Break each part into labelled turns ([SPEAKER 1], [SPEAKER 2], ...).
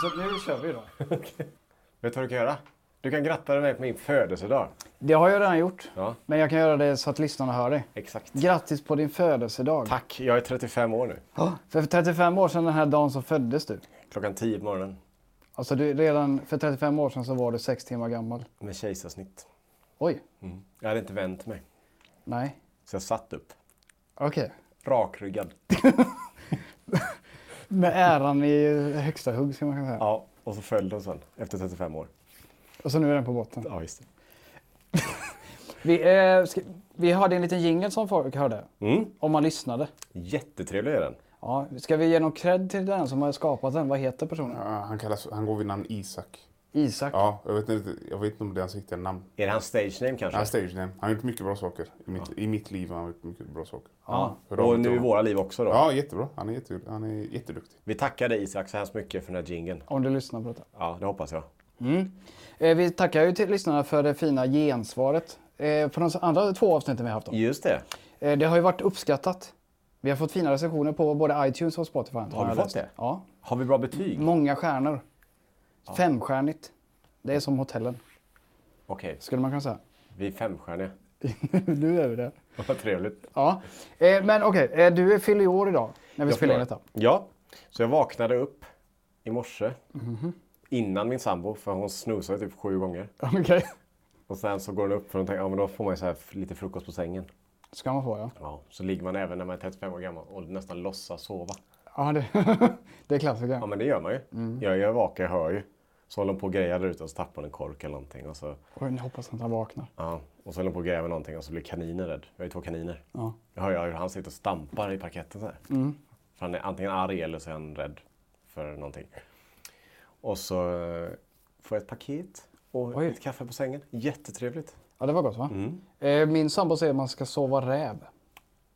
[SPEAKER 1] Så nu kör vi då. Vet du vad du kan göra? Du kan gratta mig på min födelsedag.
[SPEAKER 2] Det har jag redan gjort.
[SPEAKER 1] Ja.
[SPEAKER 2] Men jag kan göra det så att lyssnarna hör dig.
[SPEAKER 1] Exakt.
[SPEAKER 2] Grattis på din födelsedag.
[SPEAKER 1] Tack, jag är 35 år nu.
[SPEAKER 2] Ja, För 35 år sedan den här dagen så föddes du.
[SPEAKER 1] Klockan 10 på morgonen
[SPEAKER 2] Alltså du, redan för 35 år sedan så var du sex timmar gammal.
[SPEAKER 1] med kejsarsnitt.
[SPEAKER 2] Oj.
[SPEAKER 1] Jag hade inte vänt mig,
[SPEAKER 2] Nej.
[SPEAKER 1] så jag satt upp.
[SPEAKER 2] Okej.
[SPEAKER 1] Rakryggad.
[SPEAKER 2] Med äran i högsta hugg, ska man kunna säga.
[SPEAKER 1] Ja, och så föll den sen efter 35 år.
[SPEAKER 2] Och så nu är den på botten.
[SPEAKER 1] Ja, visst.
[SPEAKER 2] Vi, eh, ska, vi hörde en liten jingle som folk hörde.
[SPEAKER 1] Mm.
[SPEAKER 2] Om man lyssnade.
[SPEAKER 1] Jättetrevlig är den.
[SPEAKER 2] Ja, ska vi ge någon cred till den som har skapat den? Vad heter personen?
[SPEAKER 3] Ja, Han, kallas, han går vid namn Isak.
[SPEAKER 2] Isak.
[SPEAKER 3] Ja, jag vet inte, jag vet inte om det är hans riktiga namn.
[SPEAKER 1] Är det hans stage name kanske?
[SPEAKER 3] Han stage name. Han har gjort mycket bra saker. I mitt, i mitt liv har han gjort mycket bra saker.
[SPEAKER 1] Ja.
[SPEAKER 3] Hör av
[SPEAKER 1] Och
[SPEAKER 3] mig till
[SPEAKER 1] nu i
[SPEAKER 3] honom.
[SPEAKER 1] våra liv också då.
[SPEAKER 3] Ja, jättebra. Han är, jätte, han är jätteduktig.
[SPEAKER 1] Vi tackar dig Isak så hemskt mycket för den här jingeln.
[SPEAKER 2] Om du lyssnar på detta.
[SPEAKER 1] Ja, det hoppas jag.
[SPEAKER 2] Eh, vi tackar ju till lyssnarna för det fina gensvaret. Eh, på de andra två avsnitten vi har haft. Då.
[SPEAKER 1] Just det.
[SPEAKER 2] Eh, det har ju varit uppskattat. Vi har fått fina recensioner på både iTunes och Spotify. Har
[SPEAKER 1] du
[SPEAKER 2] jag
[SPEAKER 1] fått
[SPEAKER 2] läst.
[SPEAKER 1] det?
[SPEAKER 2] Ja.
[SPEAKER 1] Har vi bra betyg?
[SPEAKER 2] Många stjärnor. Femstjärnigt. Det är som hotellen,
[SPEAKER 1] Okej,
[SPEAKER 2] skulle man kunna säga.
[SPEAKER 1] vi är femstjärniga.
[SPEAKER 2] nu är vi det.
[SPEAKER 1] Vad trevligt.
[SPEAKER 2] Ja. Eh, men okej, eh, du är- fyller ju år idag när vi spelar in detta.
[SPEAKER 1] Ja, så jag vaknade upp i morse innan min sambo, för hon snusade typ sju gånger.
[SPEAKER 2] Okej.
[SPEAKER 1] Och sen så går hon upp för hon tänker, ja men då får man ju så här f- lite frukost på sängen.
[SPEAKER 2] Ska man få ja.
[SPEAKER 1] Ja, så ligger man även när man är 35 år gammal och nästan låtsas sova.
[SPEAKER 2] Ja, det, det är klassiker.
[SPEAKER 1] Ja men det gör man ju. Jag, jag är vaken, jag hör ju. Så håller hon på och grejar där ute och så tappar hon en kork eller någonting. Och så,
[SPEAKER 2] Oj, nu hoppas jag att han vaknar.
[SPEAKER 1] ja, och så håller hon på och grejar med någonting och så blir kaninen rädd. Vi har ju två kaniner.
[SPEAKER 2] Ja. Mm.
[SPEAKER 1] Jag hör ju hur han sitter och stampar i parketten så här. För han är antingen arg eller så är han rädd för någonting. Och så eh, får jag ett paket och
[SPEAKER 2] Oj.
[SPEAKER 1] ett kaffe på sängen. Jättetrevligt.
[SPEAKER 2] Ja, det var gott va? Eh, min sambo säger att man ska sova räv.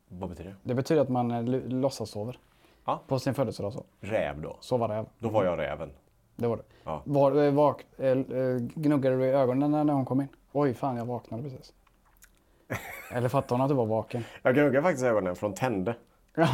[SPEAKER 1] Vad betyder det?
[SPEAKER 2] Det betyder att man eh, l- låtsassover.
[SPEAKER 1] Ja.
[SPEAKER 2] På sin födelsedag så.
[SPEAKER 1] Räv då.
[SPEAKER 2] Sova räv.
[SPEAKER 1] Då var jag räven.
[SPEAKER 2] Det var det.
[SPEAKER 1] Ja.
[SPEAKER 2] Var, eh, vak, eh, eh, gnuggade du i ögonen när- när hon kom in? Oj, fan jag vaknade precis. Eller fattade hon att du var vaken?
[SPEAKER 1] Jag gnuggade faktiskt ögonen från tände.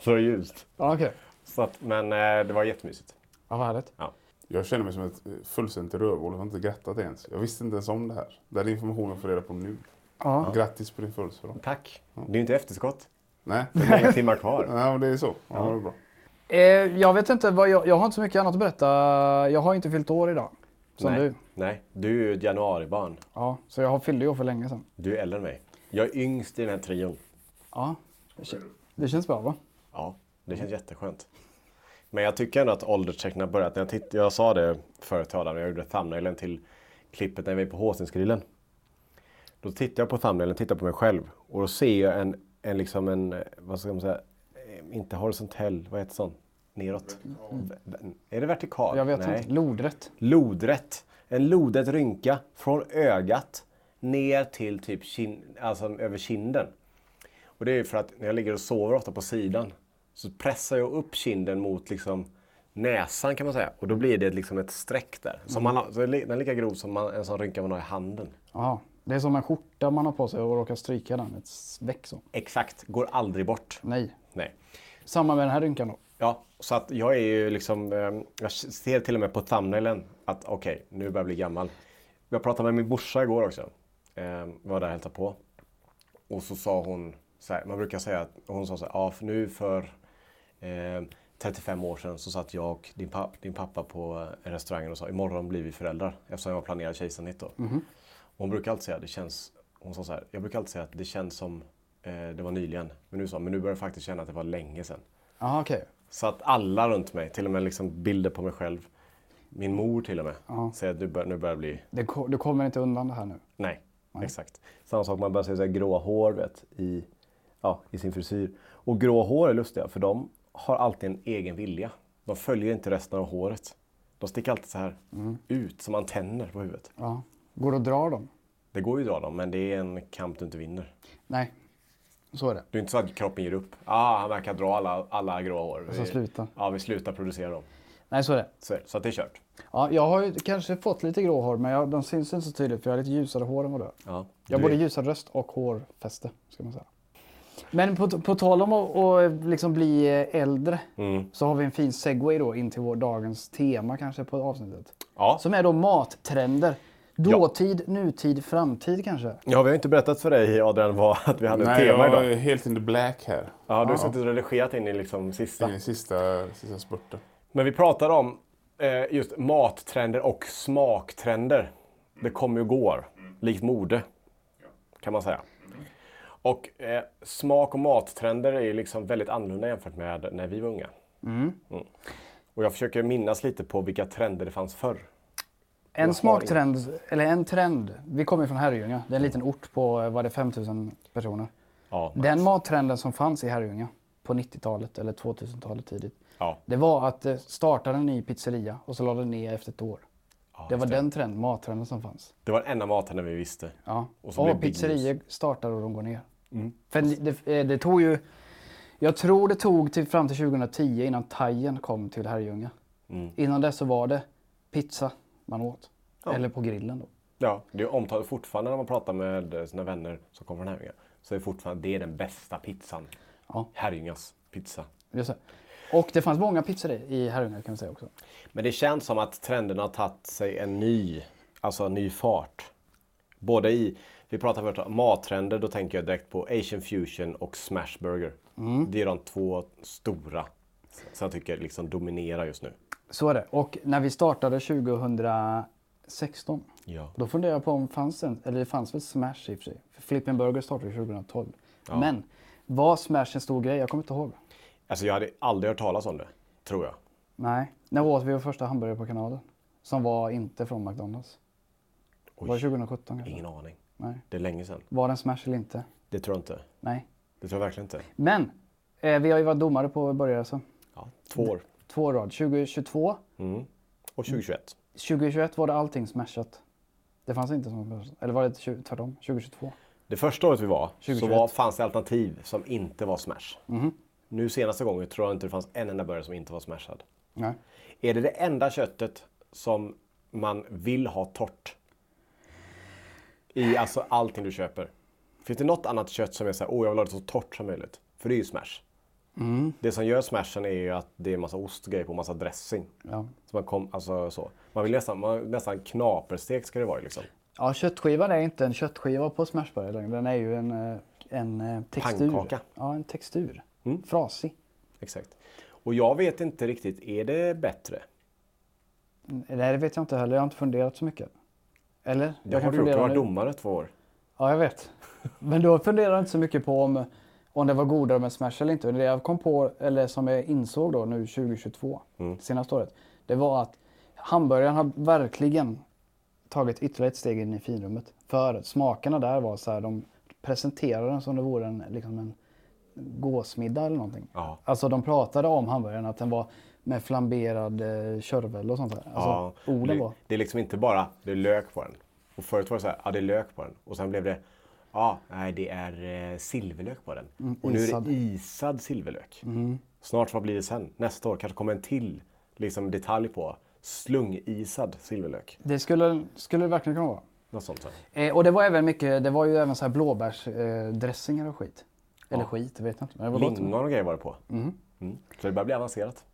[SPEAKER 1] så ljust.
[SPEAKER 2] Ja, okej.
[SPEAKER 1] Så att, men eh, det var jättemysigt.
[SPEAKER 2] Ja, vad härligt.
[SPEAKER 1] Ja.
[SPEAKER 3] Jag känner mig som ett eh, fullständigt rövhål. Jag har inte grattat ens. Jag visste inte ens om det här. Den informationen får jag reda på nu.
[SPEAKER 2] Ja.
[SPEAKER 3] Grattis på din födelsedag.
[SPEAKER 1] Tack. Det är ju inte efterskott.
[SPEAKER 3] Nej,
[SPEAKER 1] Många timmar kvar.
[SPEAKER 3] ja, men det är så. Ja, Det var bra.
[SPEAKER 2] Eh, jag vet inte, vad jag, jag har inte så mycket annat att berätta. Jag har inte fyllt år idag. Som
[SPEAKER 1] Nej.
[SPEAKER 2] du.
[SPEAKER 1] Nej, du är ju ett januaribarn.
[SPEAKER 2] Ja, så jag har fyllde år för länge sedan.
[SPEAKER 1] Du är äldre än mig. Jag är yngst i den här trion.
[SPEAKER 2] Ja. Det kän- Det känns bra va?
[SPEAKER 1] Ja, det känns jätteskönt. Men jag tycker ändå att ålderstecknen har börjat. När jag, titt- jag sa det förut, till Adam, när jag gjorde thumbnailen till klippet när vi är på Håsensgrillen. Då tittar jag på thumbnailen, tittar på mig själv och då ser jag en, en liksom en, eh, vad ska man säga, Eh, inte horisontell, vad heter sån? Neråt. V- Är det vertikal?
[SPEAKER 2] Jag vet
[SPEAKER 1] Nej.
[SPEAKER 2] inte. Lodrätt.
[SPEAKER 1] Lodrätt. En lodrätt rynka från ögat ner till typ kin- alltså över kinden. Och det är ju för att när jag ligger och sover ofta på sidan så pressar jag upp kinden mot liksom näsan kan man säga. Och då blir det liksom ett streck där. Som man har, så den är lika grov som man, en sån rynka man har i handen.
[SPEAKER 2] Ja. Det är som en skjorta man har på sig och råkar stryka den. Ett s- veck så.
[SPEAKER 1] Exakt, går aldrig bort.
[SPEAKER 2] Nej.
[SPEAKER 1] Nej.
[SPEAKER 2] Samma med den här rynkan då.
[SPEAKER 1] Ja, så att jag är ju liksom, eh, jag ser till och med på thumbnailen att okej, nu börjar jag bli gammal. Jag pratade med min morsa igår också. Eh, var där och hälsade på. Och så sa hon, så här, man brukar säga att hon sa så här, ja, för nu för eh, 35 år sedan så satt jag och din, pa- din pappa på eh, restaurangen och sa imorgon blir vi föräldrar eftersom jag planerade kejsarsnitt då. Och Hon brukar alltid säga, det känns, hon sa så här, jag brukar alltid säga att det känns som eh, det var nyligen. Men nu sa hon, men nu börjar jag faktiskt känna att det var länge sedan.
[SPEAKER 2] Jaha, okej.
[SPEAKER 1] Så att alla runt mig, till och med liksom bilder på mig själv, min mor till och med, säger att du bör, nu börjar det bli
[SPEAKER 2] Det ko- Du kommer inte undan det här nu.
[SPEAKER 1] Nej, exakt. Samma sak, man börjar se så här gråa hår vet, i, ja, i sin frisyr. Och gråa hår är lustiga för de har alltid en egen vilja. De följer inte resten av håret. De sticker alltid så här ut som antenner på huvudet.
[SPEAKER 2] Ja. Går det att dra dem?
[SPEAKER 1] Det går ju att dra dem, men det är en kamp du inte vinner.
[SPEAKER 2] Nej, så är det.
[SPEAKER 1] Det är inte så att kroppen ger upp. Ah, han verkar dra alla, alla gråa hår.
[SPEAKER 2] så sluta.
[SPEAKER 1] Ja, vi slutar producera dem.
[SPEAKER 2] Nej, så är det.
[SPEAKER 1] Så, så att det är kört.
[SPEAKER 2] Ja, jag har ju kanske fått lite grå hår, men jag, de syns inte så tydligt för jag har lite ljusare hår än vad du har.
[SPEAKER 1] Ja,
[SPEAKER 2] Jag har
[SPEAKER 1] du
[SPEAKER 2] både
[SPEAKER 1] är-
[SPEAKER 2] ljusare röst och hårfäste, ska man säga. Men på, på tal om att att liksom bli eh, äldre så har vi en fin segway då in till vår dagens tema kanske på avsnittet.
[SPEAKER 1] Ja.
[SPEAKER 2] Som är då mattrender. Dåtid, nutid, framtid kanske.
[SPEAKER 1] ja, vi har inte berättat för dig Adrian vad, att vi hade ett tema
[SPEAKER 3] jag
[SPEAKER 1] idag.
[SPEAKER 3] är helt in the black här.
[SPEAKER 1] Ja, du har suttit och redigerat in i liksom sista.
[SPEAKER 3] Det är den sista, sista spurten.
[SPEAKER 1] Men vi pratade om eh, just mattrender och smaktrender. Det kommer och går, likt mode, kan man säga. Och eh, smak och mattrender är ju liksom väldigt annorlunda jämfört med när vi var unga. Mm. Och jag försöker minnas lite på vilka trender det fanns förr.
[SPEAKER 2] En smaktrend, eller en trend. Vi kommer ju från Herrljunga. Det är en liten ort på, eh, var det 5000 personer.
[SPEAKER 1] Ja,
[SPEAKER 2] Den mattrenden som fanns i Herrljunga på 90-talet eller 2000-talet tidigt.
[SPEAKER 1] Ja.
[SPEAKER 2] Det var att eh, starta en ny pizzeria och så la den ner efter ett år. det var den trend, mattrenden som fanns.
[SPEAKER 1] Det var den enda mattrenden vi visste.
[SPEAKER 2] Ja.
[SPEAKER 1] Och
[SPEAKER 2] Och
[SPEAKER 1] så blev Mm. Big
[SPEAKER 2] pizzerior startar och de går ner. För det, eh, det tog ju... Jag tror det tog till, fram till 2010 innan thaien kom till Herrljunga.
[SPEAKER 1] Mm.
[SPEAKER 2] Innan dess så var det pizza man åt. Eller på grillen då.
[SPEAKER 1] Ja, det är omtalat fortfarande när man pratar med eh, sina vänner som kommer från Herrljunga. Så är det fortfarande, det är den bästa pizzan.
[SPEAKER 2] Ja.
[SPEAKER 1] Herrljungas pizza.
[SPEAKER 2] Just det. Och det fanns många pizzerior i Herrljunga kan vi säga också.
[SPEAKER 1] Men det känns som att trenden har tagit sig en ny, alltså en ny fart. Både i, vi pratar först om mattrender, då tänker jag direkt på Asian fusion och smashburger. Det är de två stora som jag tycker liksom dominerar just nu.
[SPEAKER 2] Så är det. Och när vi startade 2016
[SPEAKER 1] Ja.
[SPEAKER 2] Då funderar jag på om fanns det, en- eller det fanns väl Smash i och för sig. För Flippin Burger startade 2012. Men var Smash en stor grej? Jag kommer inte ihåg.
[SPEAKER 1] Alltså jag hade aldrig hört talas om det, tror jag.
[SPEAKER 2] Nej. När åt vi vår första hamburgare på kanalen? Som var inte från McDonalds. Var det 2017 kanske?
[SPEAKER 1] Ingen aning.
[SPEAKER 2] Nej.
[SPEAKER 1] Det är länge sedan.
[SPEAKER 2] Var den Smash eller inte?
[SPEAKER 1] Det tror jag inte.
[SPEAKER 2] Nej.
[SPEAKER 1] Det tror jag verkligen inte.
[SPEAKER 2] Men eh, vi har ju varit domare på burgare så.
[SPEAKER 1] Ja, två år.
[SPEAKER 2] Två rad. 2022.
[SPEAKER 1] Och 2021.
[SPEAKER 2] 2021 var det allting smashat. Det fanns inte som smashat. Eller var det 20, tvärtom? 2022?
[SPEAKER 1] Det första året vi var så
[SPEAKER 2] 2021.
[SPEAKER 1] var, fanns det alternativ som inte var smash. Nu senaste gången tror jag inte det fanns en enda burgare som inte var smashad.
[SPEAKER 2] Nej.
[SPEAKER 1] Är det det enda köttet som man vill ha torrt? I alltså allting du köper. Finns det något annat kött som är så här, åh jag vill ha det så torrt som möjligt? För det är ju smash. Det som gör smashen är ju att det är massa ost och grejer på och massa dressing.
[SPEAKER 2] Ja.
[SPEAKER 1] Så man, kom, alltså, så. man vill nästan, man, nästan knaperstek ska det vara liksom.
[SPEAKER 2] Ja, köttskivan är inte en köttskiva på smashburgare längre. Den är ju en, eh, en eh, textur.
[SPEAKER 1] Pannkaka. Mm.
[SPEAKER 2] Ja, en textur. Frasig.
[SPEAKER 1] Exakt. Och jag vet inte riktigt, är det bättre?
[SPEAKER 2] Nej, det vet jag inte heller. Jag har inte funderat så mycket. Eller?
[SPEAKER 1] Det har du gjort, du var
[SPEAKER 2] nu.
[SPEAKER 1] domare två år.
[SPEAKER 2] Ja, jag vet. Men då funderar jag inte så mycket på om, om det var godare med smash eller inte. Det jag kom på, eller som jag insåg då nu 2022,
[SPEAKER 1] Mm.
[SPEAKER 2] senaste året, det var att hamburgaren har verkligen tagit ytterligare ett steg in i finrummet. För smakerna där var så här, de presenterade den som det vore en, liksom en gåsmiddag eller någonting.
[SPEAKER 1] Ja.
[SPEAKER 2] Alltså de pratade om hamburgaren, att den var med flamberad eh, körvel och sånt där. Alltså orden
[SPEAKER 1] det,
[SPEAKER 2] var.
[SPEAKER 1] det är liksom inte bara det är lök på den. Och förut var det så här, ja det är lök på den. Och sen blev det, ja nej det är eh, silverlök på den. och nu är
[SPEAKER 2] Mm, isad. Mm.
[SPEAKER 1] det isad silverlök. Snart vad blir det sen? Nästa år kanske kommer en till liksom, detalj på slungisad silverlök.
[SPEAKER 2] Det skulle, skulle det verkligen kunna vara.
[SPEAKER 1] Något sånt. Så.
[SPEAKER 2] Eh, och det var även mycket, det var ju även så här blåbärsdressingar eh, dressingar och skit. Eller skit, vet jag inte. Men det var gott.
[SPEAKER 1] Lingon och grejer var det på. Mm. Så det börjar bli avancerat.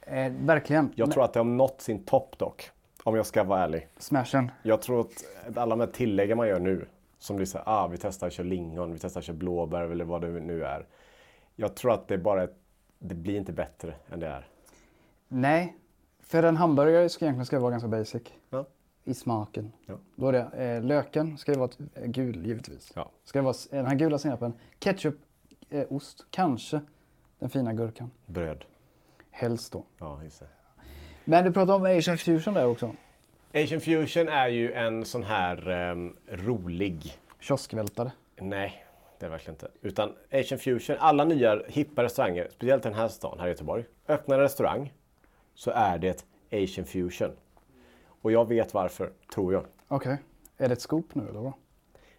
[SPEAKER 2] Eh, verkligen.
[SPEAKER 1] Jag tror att det har nått sin topp dock. Om jag ska vara ärlig.
[SPEAKER 2] Smashen.
[SPEAKER 1] Jag tror att alla de här tilläggen man gör nu Som du säger, ah, vi testar att köra lingon, vi testar att köra blåbär eller vad det nu är. Jag tror att det är bara ett, det blir inte bättre än det är.
[SPEAKER 2] Nej, för en hamburgare ska egentligen ska vara ganska basic
[SPEAKER 1] Ja.
[SPEAKER 2] i smaken.
[SPEAKER 1] Ja.
[SPEAKER 2] Då är det, eh, löken ska ju vara t- eh, gul givetvis.
[SPEAKER 1] Ja.
[SPEAKER 2] Ska det vara s- eh, den här gula senapen, ketchup, eh, ost, kanske den fina gurkan.
[SPEAKER 1] Bröd.
[SPEAKER 2] Helst då.
[SPEAKER 1] Ja, just det.
[SPEAKER 2] Men du pratade om Asian fusion där också.
[SPEAKER 1] Asian Fusion är ju en sån här ehm, rolig
[SPEAKER 2] Kioskvältare.
[SPEAKER 1] Nej, det är verkligen inte. Utan Asian Fusion, alla nya hippa restauranger, speciellt i den här stan, här i Göteborg. Öppnar en restaurang så är det Asian Fusion. Och jag vet varför, tror jag.
[SPEAKER 2] Okej. Är det ett scoop nu eller vad?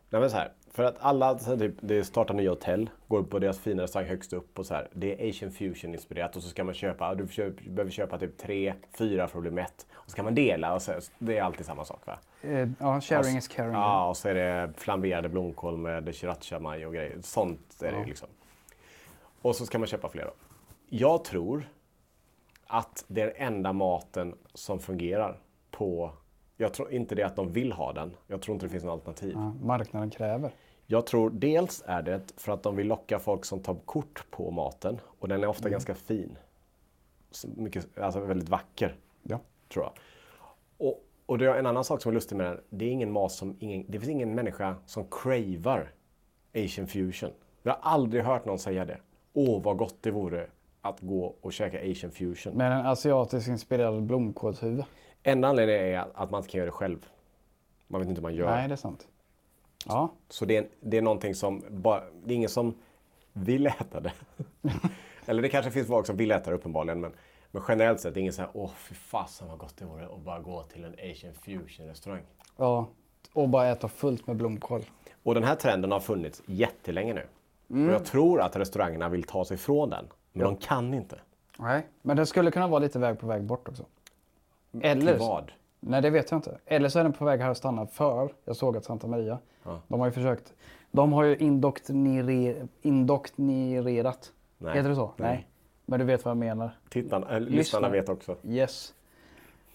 [SPEAKER 1] Nej men så här, för att alla så här, typ, det startar nya hotell, går på deras fina restaurang högst upp och så här. Det är Asian Fusion inspirerat och så ska man köpa, du köp, behöver köpa typ tre, fyra för att bli mätt. Och så kan man dela och så här, det är alltid samma sak va?
[SPEAKER 2] Eh, ja, sharing is caring.
[SPEAKER 1] Ja, och så är det flamberade blomkål med sriracha majo och grejer. Sånt är det ju liksom. Och så ska man köpa flera. Jag tror att det är den enda maten som fungerar på... Jag tror inte det att de vill ha den. Jag tror inte det finns något alternativ.
[SPEAKER 2] Ja, marknaden kräver.
[SPEAKER 1] Jag tror dels är det för att de vill locka folk som tar kort på maten. Och den är
[SPEAKER 2] Mm.
[SPEAKER 1] ofta ganska fin. Så mycket, alltså väldigt vacker
[SPEAKER 2] Ja.
[SPEAKER 1] tror jag. Och, och det är en annan sak som är lustig med den. Det är ingen mat som ingen, det finns ingen människa som cravar Asian fusion. Jag har aldrig hört någon säga det. Åh, vad gott det vore att gå och käka Asian fusion.
[SPEAKER 2] Med en asiatisk inspirerad blomkålshuvud.
[SPEAKER 1] Enda anledningen är att man inte kan göra det själv. Man vet inte hur man gör.
[SPEAKER 2] Nej, det är sant. Ja,
[SPEAKER 1] Så det är, det är någonting som bara, det är ingen som vill äta det. Eller det kanske finns folk som vill äta det uppenbarligen. Men, men generellt sett, det är ingen så här, åh fy fasen vad gott det vore att bara gå till en Asian fusion restaurang.
[SPEAKER 2] ja. Och bara äta fullt med blomkål.
[SPEAKER 1] Och den här trenden har funnits jättelänge nu. Och jag tror att restaurangerna vill ta sig från den. Men de kan inte.
[SPEAKER 2] Nej, men den skulle kunna vara lite väg på väg bort också.
[SPEAKER 1] Till
[SPEAKER 2] Eller,
[SPEAKER 1] vad?
[SPEAKER 2] nej det vet jag inte. Eller så är den på väg här att stanna för jag såg att Santa Maria, de har ju försökt. De har ju indoktriner, indoktrinerat.
[SPEAKER 1] Nej.
[SPEAKER 2] Heter det så? Nej. Men du vet vad jag menar.
[SPEAKER 1] Tittarna, eller, lyssnarna vet också.
[SPEAKER 2] Yes.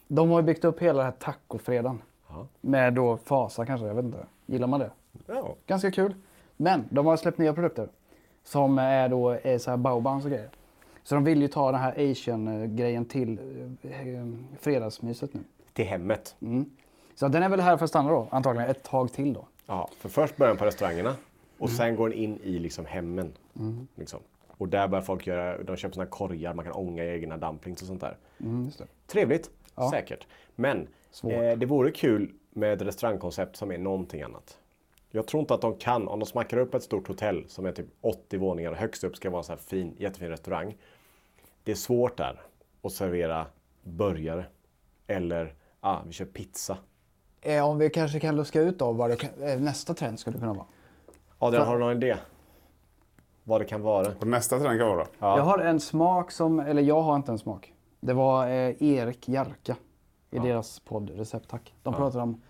[SPEAKER 2] De har ju byggt upp hela den här tacofredagen.
[SPEAKER 1] Ja.
[SPEAKER 2] Med då Fasa kanske, jag vet inte. Gillar man det?
[SPEAKER 1] Ja.
[SPEAKER 2] Ganska kul. Men de har släppt nya produkter. Som är då är så här baobans och grejer. Så de vill ju ta den här asian-grejen till eh, eh, fredagsmyset nu.
[SPEAKER 1] Till hemmet.
[SPEAKER 2] Så den är väl här för att stanna då, antagligen ett tag till då.
[SPEAKER 1] Ja, för först börjar den på restaurangerna. Och sen går den in i liksom hemmen. Liksom. Och där börjar folk göra, de köper såna här korgar, man kan ånga egna dumplings och sånt där.
[SPEAKER 2] Mm, just det.
[SPEAKER 1] Trevligt, säkert. Men
[SPEAKER 2] Svårt.
[SPEAKER 1] eh, det vore kul med ett restaurangkoncept som är någonting annat. Jag tror inte att de kan, om de smackar upp ett stort hotell som är typ 80 våningar och högst upp ska vara en så här fin, jättefin restaurang. Det är svårt där att servera burgare. Eller, ah, vi kör pizza.
[SPEAKER 2] Eh, om vi kanske kan luska ut då vad det kan, eh, nästa trend skulle kunna vara.
[SPEAKER 1] Adrian, har du någon idé? Vad det kan vara?
[SPEAKER 3] Och nästa trend kan vara?
[SPEAKER 2] Jag har en smak som, eller jag har inte en smak. Det var eh, Erik Jarka i deras podd Recept Tack. De pratade om,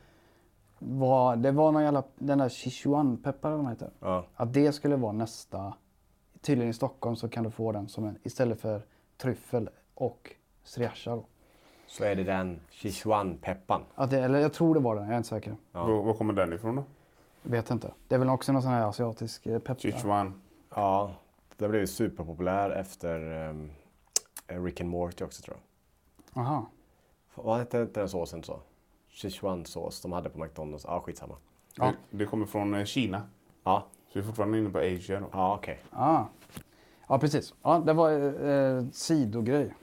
[SPEAKER 2] vad, det var någon jävla, den där Sichuanpeppar eller vad den heter.
[SPEAKER 1] Ja.
[SPEAKER 2] Att det skulle vara nästa, tydligen i Stockholm så kan du få den som en, istället för tryffel och sriracha då.
[SPEAKER 1] Så är det den Sichuanpeppan.
[SPEAKER 2] Att det, eller jag tror det var den, jag är inte säker.
[SPEAKER 3] Var, var kommer den ifrån då?
[SPEAKER 2] Vet inte. Det är väl också någon sån här asiatisk eh, peppar.
[SPEAKER 3] Sichuan.
[SPEAKER 1] Ja, den blev ju superpopulär efter ehm, Rick and Morty också tror jag.
[SPEAKER 2] Aha.
[SPEAKER 1] Vad hette inte den såsen så? Sichuan-sås de hade på McDonalds. Ja, ah, skitsamma.
[SPEAKER 3] Det, det kommer från eh, Kina.
[SPEAKER 1] Ja,
[SPEAKER 3] Så vi är fortfarande inne på Asia då.
[SPEAKER 1] ja ah, okej.
[SPEAKER 2] Ah. Ja, precis. Ja, det var eh, eh, sidogrej.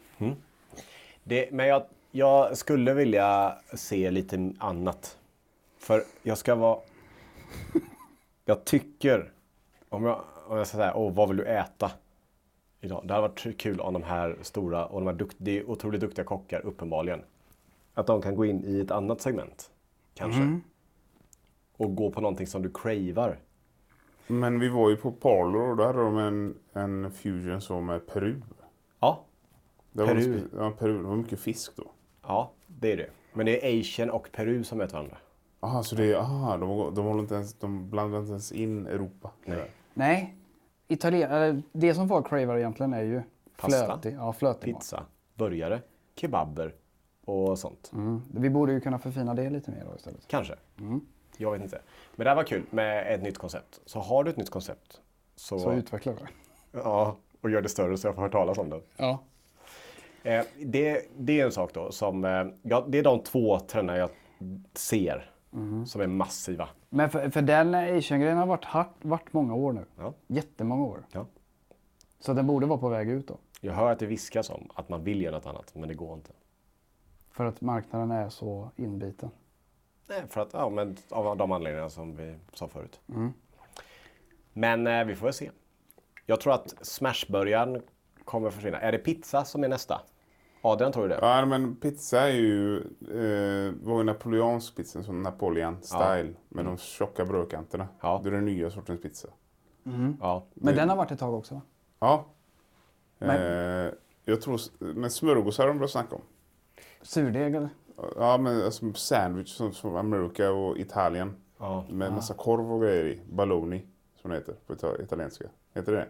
[SPEAKER 1] Det- Men jag, jag skulle vilja se lite annat. För jag ska vara... Jag tycker... Om jag, om jag ska säga, åh, vad vill du äta? Idag. Det hade varit kul om de här stora och de här dukt, det är otroligt duktiga kockar, uppenbarligen. Att de kan gå in i ett annat segment, kanske. Och gå på någonting som du cravar.
[SPEAKER 3] Men vi var ju på Parlor och då hade de en, en fusion så med Peru.
[SPEAKER 1] Ja,
[SPEAKER 3] Det var
[SPEAKER 1] Peru?
[SPEAKER 3] mycket- Ja, Peru. Det var mycket fisk då.
[SPEAKER 1] ja, det är det. Men det är Asien och Peru som möter varandra.
[SPEAKER 3] Aha, så det är, aha, de, de, håller inte ens, de blandar inte ens in Europa.
[SPEAKER 1] Nej.
[SPEAKER 2] Nej, Italien, eller, det som folk cravar egentligen är ju
[SPEAKER 1] Pasta.
[SPEAKER 2] flötig, ja, flötig mat.
[SPEAKER 1] Pizza, burgare, kebaber och sånt.
[SPEAKER 2] Mm. Vi borde ju kunna förfina det lite mer då istället.
[SPEAKER 1] Kanske. Jag vet inte. Men det här var kul med ett nytt koncept. Så har du ett nytt koncept så,
[SPEAKER 2] Så utvecklar vi det.
[SPEAKER 1] ja, och gör det större så jag får höra talas om det.
[SPEAKER 2] Ja.
[SPEAKER 1] Eh, det, det är en sak då som, eh, ja, det är de två trenderna jag ser som är massiva.
[SPEAKER 2] Men för, för den Asian-grejen har varit, hart, varit många år nu.
[SPEAKER 1] Ja.
[SPEAKER 2] Jättemånga år.
[SPEAKER 1] Ja.
[SPEAKER 2] Så den borde vara på väg ut då.
[SPEAKER 1] Jag hör att det viskas om att man vill göra något annat, men det går inte.
[SPEAKER 2] För att marknaden är så inbiten.
[SPEAKER 1] Nej, för att, ja, men av de anledningarna som vi sa förut. Men eh, vi får väl se. Jag tror att smashburgaren kommer försvinna. Är det pizza som är nästa? Adrian tror ju det.
[SPEAKER 3] Ja, men pizza är ju, eh, var ju napoleonsk pizza, som Napoleon style. Med de tjocka brödkanterna.
[SPEAKER 1] Mm. Ja.
[SPEAKER 3] Det är den nya sortens pizza.
[SPEAKER 1] Ja.
[SPEAKER 2] Men den har varit ett tag också. va?
[SPEAKER 3] Ja. Eh, jag tror, s- men smörgåsar har de börjat snacka om.
[SPEAKER 2] Surdeg eller?
[SPEAKER 3] Ja, men alltså sandwich som, som America och Italien.
[SPEAKER 1] Ja.
[SPEAKER 3] Med massa korv och grejer i. Balloni, som det heter på ita- italienska. Heter det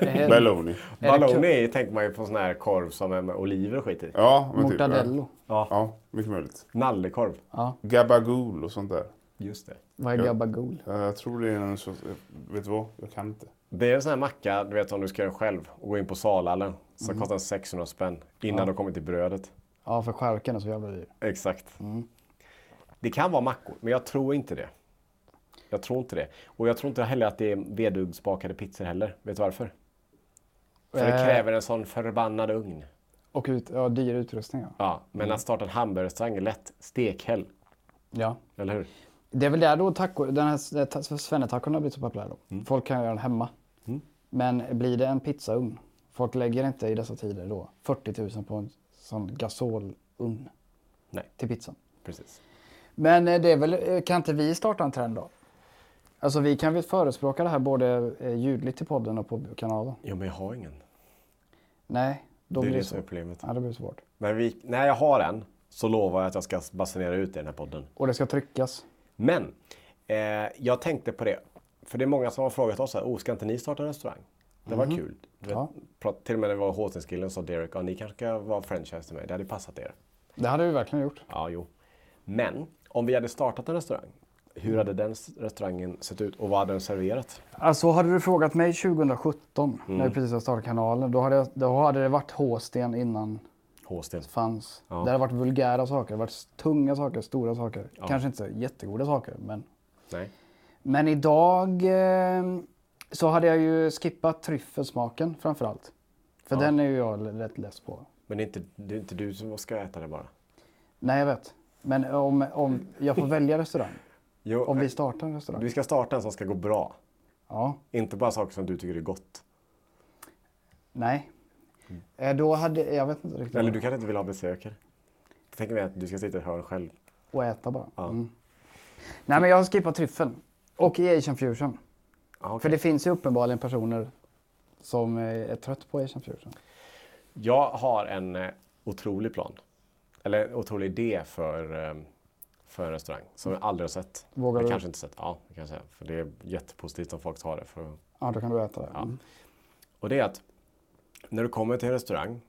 [SPEAKER 3] det?
[SPEAKER 2] Är-
[SPEAKER 3] Balloni.
[SPEAKER 2] det kul?
[SPEAKER 1] Baloney tänker man ju på sån här korv som är med oliver och skit i.
[SPEAKER 3] Ja, men typ.
[SPEAKER 2] Mortadello.
[SPEAKER 3] Ja. ja, mycket möjligt.
[SPEAKER 1] Nallekorv.
[SPEAKER 3] Gabagool och sånt där.
[SPEAKER 1] Just det.
[SPEAKER 2] Vad är gabagool?
[SPEAKER 3] Ja, Jag tror det är en sorts... eh, Vet du vad? Jag kan inte.
[SPEAKER 1] Det är en sån här macka, du vet om du ska göra själv och gå in på salhallen. Så kostar den 600 spänn innan du kommer till brödet.
[SPEAKER 2] Ja, för skärken är så jävla dyr.
[SPEAKER 1] Exakt. Det kan vara mackor, men jag tror inte det. Jag tror inte det. Och jag tror inte heller att det är vedugnsbakade pizzor heller. Vet du varför? För det
[SPEAKER 2] Eh.
[SPEAKER 1] kräver en sån förbannad ugn.
[SPEAKER 2] Och ut, ja, dyr utrustning ja.
[SPEAKER 1] Ja, men att starta en hamburgerrestaurang är lätt. Stekhäll,
[SPEAKER 2] ja.
[SPEAKER 1] eller hur?
[SPEAKER 2] Det är väl där då taco, den här eh, ta- svennetacon har blivit så populär då.
[SPEAKER 1] Mm.
[SPEAKER 2] Folk kan göra den hemma. Men blir det en pizzaugn? Folk lägger inte i dessa tider då 40 000 på en sån gasolugn
[SPEAKER 1] Nej,
[SPEAKER 2] till pizzan.
[SPEAKER 1] precis.
[SPEAKER 2] Men eh, det är väl, eh, kan inte vi starta en trend då? Alltså vi kan väl förespråka det här både eh, ljudligt i podden och på kanalen?
[SPEAKER 1] Jo, men jag har ingen.
[SPEAKER 2] Nej, då
[SPEAKER 1] det är
[SPEAKER 2] blir
[SPEAKER 1] det
[SPEAKER 2] det
[SPEAKER 1] som är
[SPEAKER 2] svårt.
[SPEAKER 1] problemet.
[SPEAKER 2] Ja, det blir svårt.
[SPEAKER 1] Men vi, när jag har en så lovar jag att jag ska basunera ut det i den här podden.
[SPEAKER 2] Och det ska tryckas.
[SPEAKER 1] Men eh, jag tänkte på det. För det är många som har frågat oss så här, oh, ska inte ni starta en restaurang? Det var kul. Du vet,
[SPEAKER 2] Mhm. Ja.
[SPEAKER 1] prat, till och med när det var Håsningskillen sa Derek, ja, ni kanske ska vara franchise till mig. Det hade passat er.
[SPEAKER 2] Det hade vi verkligen gjort.
[SPEAKER 1] Ja, jo. Men om vi hade startat en restaurang, hur
[SPEAKER 2] Mm.
[SPEAKER 1] hade den s- restaurangen sett ut och vad hade den serverat?
[SPEAKER 2] Alltså hade du frågat mig 2017 när vi precis hade startat kanalen, då hade, jag, då hade det varit H-sten innan
[SPEAKER 1] Håsten.
[SPEAKER 2] fanns. Det hade varit vulgära saker, det hade varit tunga saker, stora saker. Kanske inte så jättegoda saker, men.
[SPEAKER 1] Nej.
[SPEAKER 2] Men idag eh, så hade jag ju skippat tryffelsmaken framför allt. För den är ju jag l- rätt less på.
[SPEAKER 1] Men det är, inte, det är inte du som ska äta det bara.
[SPEAKER 2] Nej, jag vet. Men om, om jag får välja restaurang,
[SPEAKER 1] Jo,
[SPEAKER 2] om
[SPEAKER 1] eh,
[SPEAKER 2] vi startar en restaurang.
[SPEAKER 1] Vi ska starta en som ska gå bra.
[SPEAKER 2] Ja,
[SPEAKER 1] Inte bara saker som du tycker är gott.
[SPEAKER 2] nej. Eh, då hade, jag vet inte riktigt.
[SPEAKER 1] Eller du kanske inte vill ha besökare. Tänk mig att du ska sitta i ett hörn själv.
[SPEAKER 2] Och äta bara. Mm. Nej men jag har skippat tryffeln. Och i Asian fusion.
[SPEAKER 1] Ah, okej.
[SPEAKER 2] För det finns ju uppenbarligen personer som eh, är trött på Asian fusion.
[SPEAKER 1] Jag har en eh, otrolig plan. Eller en otrolig idé för, eh, för en restaurang som jag aldrig har sett.
[SPEAKER 2] Vågar
[SPEAKER 1] jag
[SPEAKER 2] du?
[SPEAKER 1] kanske inte sett. Ja, det kan jag säga. För det är jättepositivt om folk tar det. För...
[SPEAKER 2] Ja, då kan du äta det. Mm.
[SPEAKER 1] Och det är att när du kommer till en restaurang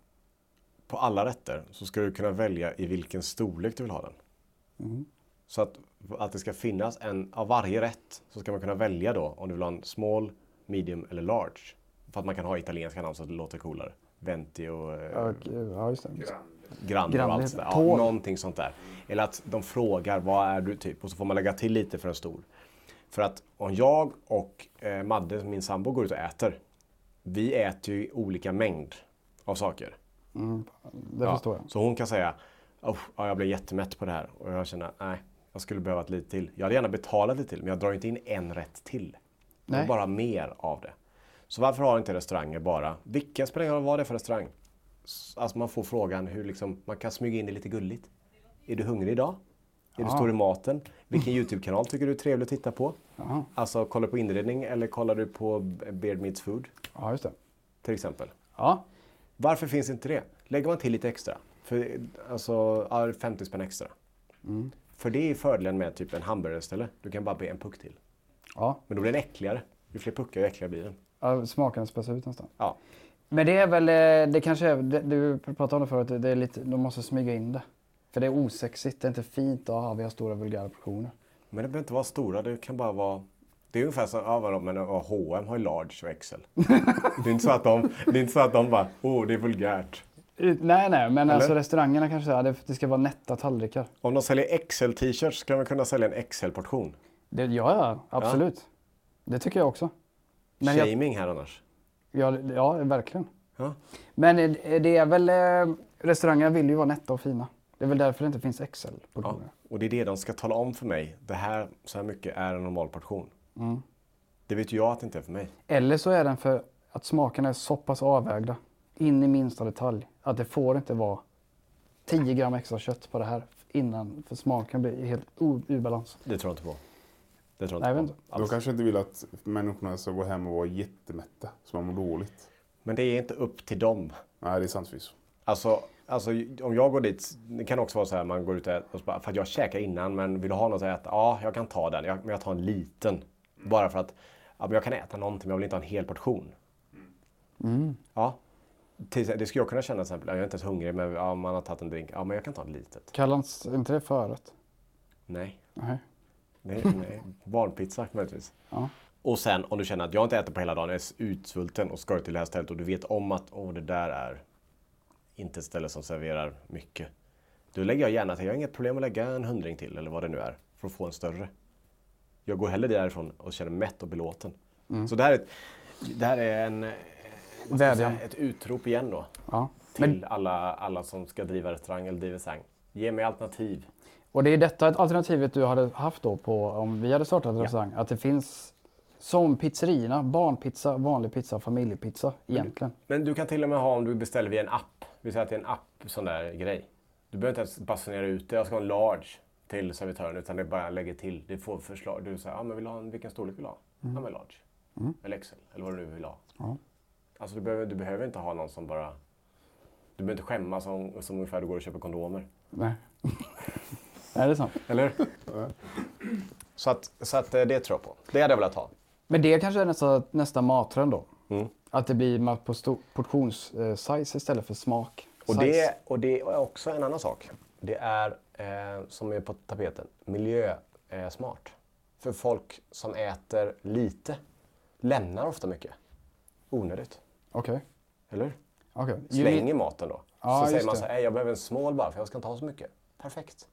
[SPEAKER 1] på alla rätter så ska du kunna välja i vilken storlek du vill ha den.
[SPEAKER 2] Mm.
[SPEAKER 1] Så att, att det ska finnas en, av varje rätt så ska man kunna välja då om du vill ha en small, medium eller large. För att man kan ha italienska namn så att det låter coolare. Venti och eh,
[SPEAKER 2] Och, eh, ja, just det.
[SPEAKER 1] grannar och
[SPEAKER 2] Grannar
[SPEAKER 1] allt
[SPEAKER 2] heter
[SPEAKER 1] sånt där.
[SPEAKER 2] det.
[SPEAKER 1] Ja,
[SPEAKER 2] Tåg.
[SPEAKER 1] någonting sånt där. Eller att de frågar vad är du typ och så får man lägga till lite för en stor. För att om jag och eh, Madde, min sambo, går ut och äter. Vi äter ju olika mängd av saker.
[SPEAKER 2] Det
[SPEAKER 1] Ja,
[SPEAKER 2] förstår jag.
[SPEAKER 1] Så hon kan säga "Oh, ja, jag blev jättemätt på det här och jag känner nej, jag skulle behöva ett lite till. Jag hade gärna betalat lite till men jag drar inte in en rätt till. Jag vill
[SPEAKER 2] Nej.
[SPEAKER 1] bara ha mer av det. Så varför har inte restauranger bara, vilken spelar ingen roll vad det är för restaurang? S- Alltså man får frågan hur liksom, man kan smyga in det lite gulligt. Är du hungrig idag? Är du stor i maten? Vilken YouTube-kanal tycker du är trevlig att titta på? Alltså kollar du på inredning eller kollar du på Beard Meets Food
[SPEAKER 2] Ja, just det.
[SPEAKER 1] till exempel?
[SPEAKER 2] Ja.
[SPEAKER 1] Varför finns inte det? Lägger man till lite extra. För, alltså ja, 50 spänn extra.
[SPEAKER 2] Mm.
[SPEAKER 1] För det är fördelen med typ en hamburgare istället. Du kan bara be en puck till.
[SPEAKER 2] Ja.
[SPEAKER 1] Men då blir den äckligare. Ju fler puckar ju äckligare blir den.
[SPEAKER 2] ja smaken späs ut nästan.
[SPEAKER 1] Ja.
[SPEAKER 2] Men det är väl, eh, det kanske är, det- du pratade om det förut, det- det är lite, de måste smyga in det. För det är osexigt, det är inte fint, aha vi har stora vulgära portioner.
[SPEAKER 1] Men det behöver inte vara stora, det kan bara vara... Det är ungefär som, ja vadå, men ja, H&M har ju large och XL. det, är inte så att de, det är inte så att de bara, oh det är vulgärt.
[SPEAKER 2] Ut- Nej, nej, men alltså restaurangerna kanske säger att det ska vara nätta tallrikar.
[SPEAKER 1] Om de säljer XL-t-shirts ska de kunna sälja en XL-portion.
[SPEAKER 2] Det, ja, ja, absolut. Det tycker jag också. Men jag-
[SPEAKER 1] Shaming här annars.
[SPEAKER 2] Ja, det- ja verkligen.
[SPEAKER 1] Ja.
[SPEAKER 2] Men eh, det är väl... eh, Restaurangerna vill ju vara nätta och fina. Det är väl därför det inte finns excel
[SPEAKER 1] Ja.
[SPEAKER 2] portioner
[SPEAKER 1] Och det är det de ska tala om för mig. Det här, så här mycket är en normal portion. Det vet ju jag att det inte är för mig.
[SPEAKER 2] Eller så är den för att smakerna är så pass avvägda. In i minsta detalj. Att det får inte vara 10 gram extra kött på det här innan. För smaken blir helt o- ur balans.
[SPEAKER 1] Det tror jag inte på. Det tror
[SPEAKER 2] Nej, jag
[SPEAKER 1] jag
[SPEAKER 2] vet
[SPEAKER 1] inte
[SPEAKER 2] inte.
[SPEAKER 1] på.
[SPEAKER 3] De kanske inte vill att människorna ska gå hem och vara jättemätta, så man mår dåligt.
[SPEAKER 1] Men det är inte upp till dem.
[SPEAKER 3] Nej, det är sant förvisso.
[SPEAKER 1] Alltså, alltså om jag går dit, det kan också vara så här man går ut och äter, och så bara, för att jag käkar innan men vill du ha något att äta? Ja, jag kan ta den, jag, men jag tar en liten. Bara för att ja, men jag kan äta någonting men jag vill inte ha en hel portion. Ja, till, det skulle jag kunna känna till exempel, jag är inte ens hungrig men ja, man har tagit en drink, ja men jag kan ta en litet.
[SPEAKER 2] Kallas inte det förrätt?
[SPEAKER 1] Nej,
[SPEAKER 2] Nej.
[SPEAKER 1] nej, nej. barnpizza möjligtvis.
[SPEAKER 2] Ja.
[SPEAKER 1] Och sen om du känner att jag inte äter på hela dagen, jag är utsvulten och ska till det här stället och du vet om att åh, det där är inte ett ställe som serverar mycket. Då lägger jag gärna till, jag har inget problem att lägga en hundring till eller vad det nu är för att få en större. Jag går hellre därifrån och känner mig mätt och belåten.
[SPEAKER 2] Mm.
[SPEAKER 1] Så det här är, ett, det här är en, eh, vad ska jag
[SPEAKER 2] Vädjan.
[SPEAKER 1] säga, ett utrop igen då.
[SPEAKER 2] Ja.
[SPEAKER 1] Till alla, alla som ska driva restaurang eller driva restaurang. Ge mig alternativ.
[SPEAKER 2] Och det är detta alternativet du hade haft då på om vi hade startat en restaurang. Att det finns som pizzerierna, barnpizza, vanlig pizza, familjepizza
[SPEAKER 1] Mm.
[SPEAKER 2] egentligen.
[SPEAKER 1] Men du kan till och med ha om du beställer via en app. Vi säger att det är en app, sån där grej. Du behöver inte ens basunera ut det. Jag ska ha en large till servitören. Utan det är bara lägger till. Du får förslag. Du säger, ah, men vill du ha en, vilken storlek vill du ha? Ja, men large. Eller XL. Eller vad du nu vill ha. Alltså du behöver, du behöver inte ha någon som bara... Du behöver inte skämmas som, som ungefär du går och köper kondomer.
[SPEAKER 2] Nej. Nej, det är sant.
[SPEAKER 1] Eller Så att, så att eh, det tror jag på. Det hade jag velat ha.
[SPEAKER 2] Men det kanske är nästa, nästa mattrend då.
[SPEAKER 1] Mm.
[SPEAKER 2] Att det blir mat på stor- portionssize istället för smak.
[SPEAKER 1] Och
[SPEAKER 2] size.
[SPEAKER 1] det, och det är också en annan sak. Det är, eh, som är på tapeten, miljösmart. För folk som äter lite lämnar ofta mycket. Onödigt.
[SPEAKER 2] Okej.
[SPEAKER 1] Eller?
[SPEAKER 2] Okej. Ju
[SPEAKER 1] Slänger
[SPEAKER 2] min-
[SPEAKER 1] maten då.
[SPEAKER 2] Ja,
[SPEAKER 1] så säger
[SPEAKER 2] just
[SPEAKER 1] man
[SPEAKER 2] det.
[SPEAKER 1] så här, "Ey, jag behöver en small bara för jag ska inte ha så mycket. Perfekt.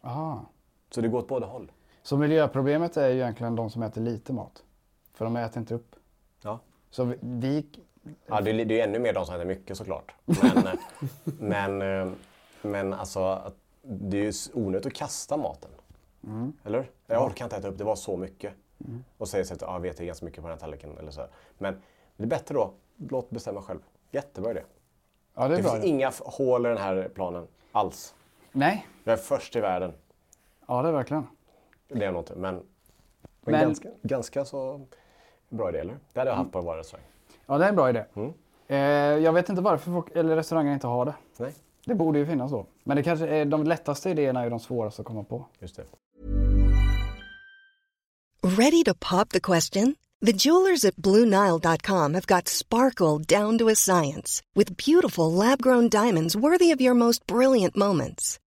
[SPEAKER 2] Ah.
[SPEAKER 1] Så det går åt båda håll.
[SPEAKER 2] Så miljöproblemet är ju egentligen de som äter lite mat. För de äter inte upp.
[SPEAKER 1] Ja.
[SPEAKER 2] Så vi- vi...
[SPEAKER 1] Ja, det, är- det är ju ännu mer de som äter mycket såklart. Men, eh, men, eh, men alltså, att det är ju s- onödigt att kasta maten.
[SPEAKER 2] Mm.
[SPEAKER 1] Eller? Jag orkar inte äta upp, det var så mycket. Och säger sig att ah, jag vet, det är ganska mycket på den här tallriken. Eller så här. Men det är bättre då, låt bestämma själv. Jättebra idé.
[SPEAKER 2] Ja, det
[SPEAKER 1] Det,
[SPEAKER 2] är bra.
[SPEAKER 1] finns inga f- hål i den här planen alls.
[SPEAKER 2] Nej.
[SPEAKER 1] Jag är först i världen.
[SPEAKER 2] Ja, det är verkligen.
[SPEAKER 1] Det är jag nog inte, men, men,
[SPEAKER 2] Men-
[SPEAKER 1] ganska, ganska så bra idé, eller? Det hade jag haft på vår restaurang.
[SPEAKER 2] Ja, det är en bra idé. Eh, jag vet inte varför folk, eller restauranger inte har det.
[SPEAKER 1] Nej,
[SPEAKER 2] Det borde ju finnas då. Men det kanske är, de lättaste idéerna är ju de svåraste att komma på.
[SPEAKER 1] just det.
[SPEAKER 4] Ready to pop the question? The jewelers at BlueNile.com have got sparkle down to a science with beautiful lab grown diamonds worthy of your most brilliant moments.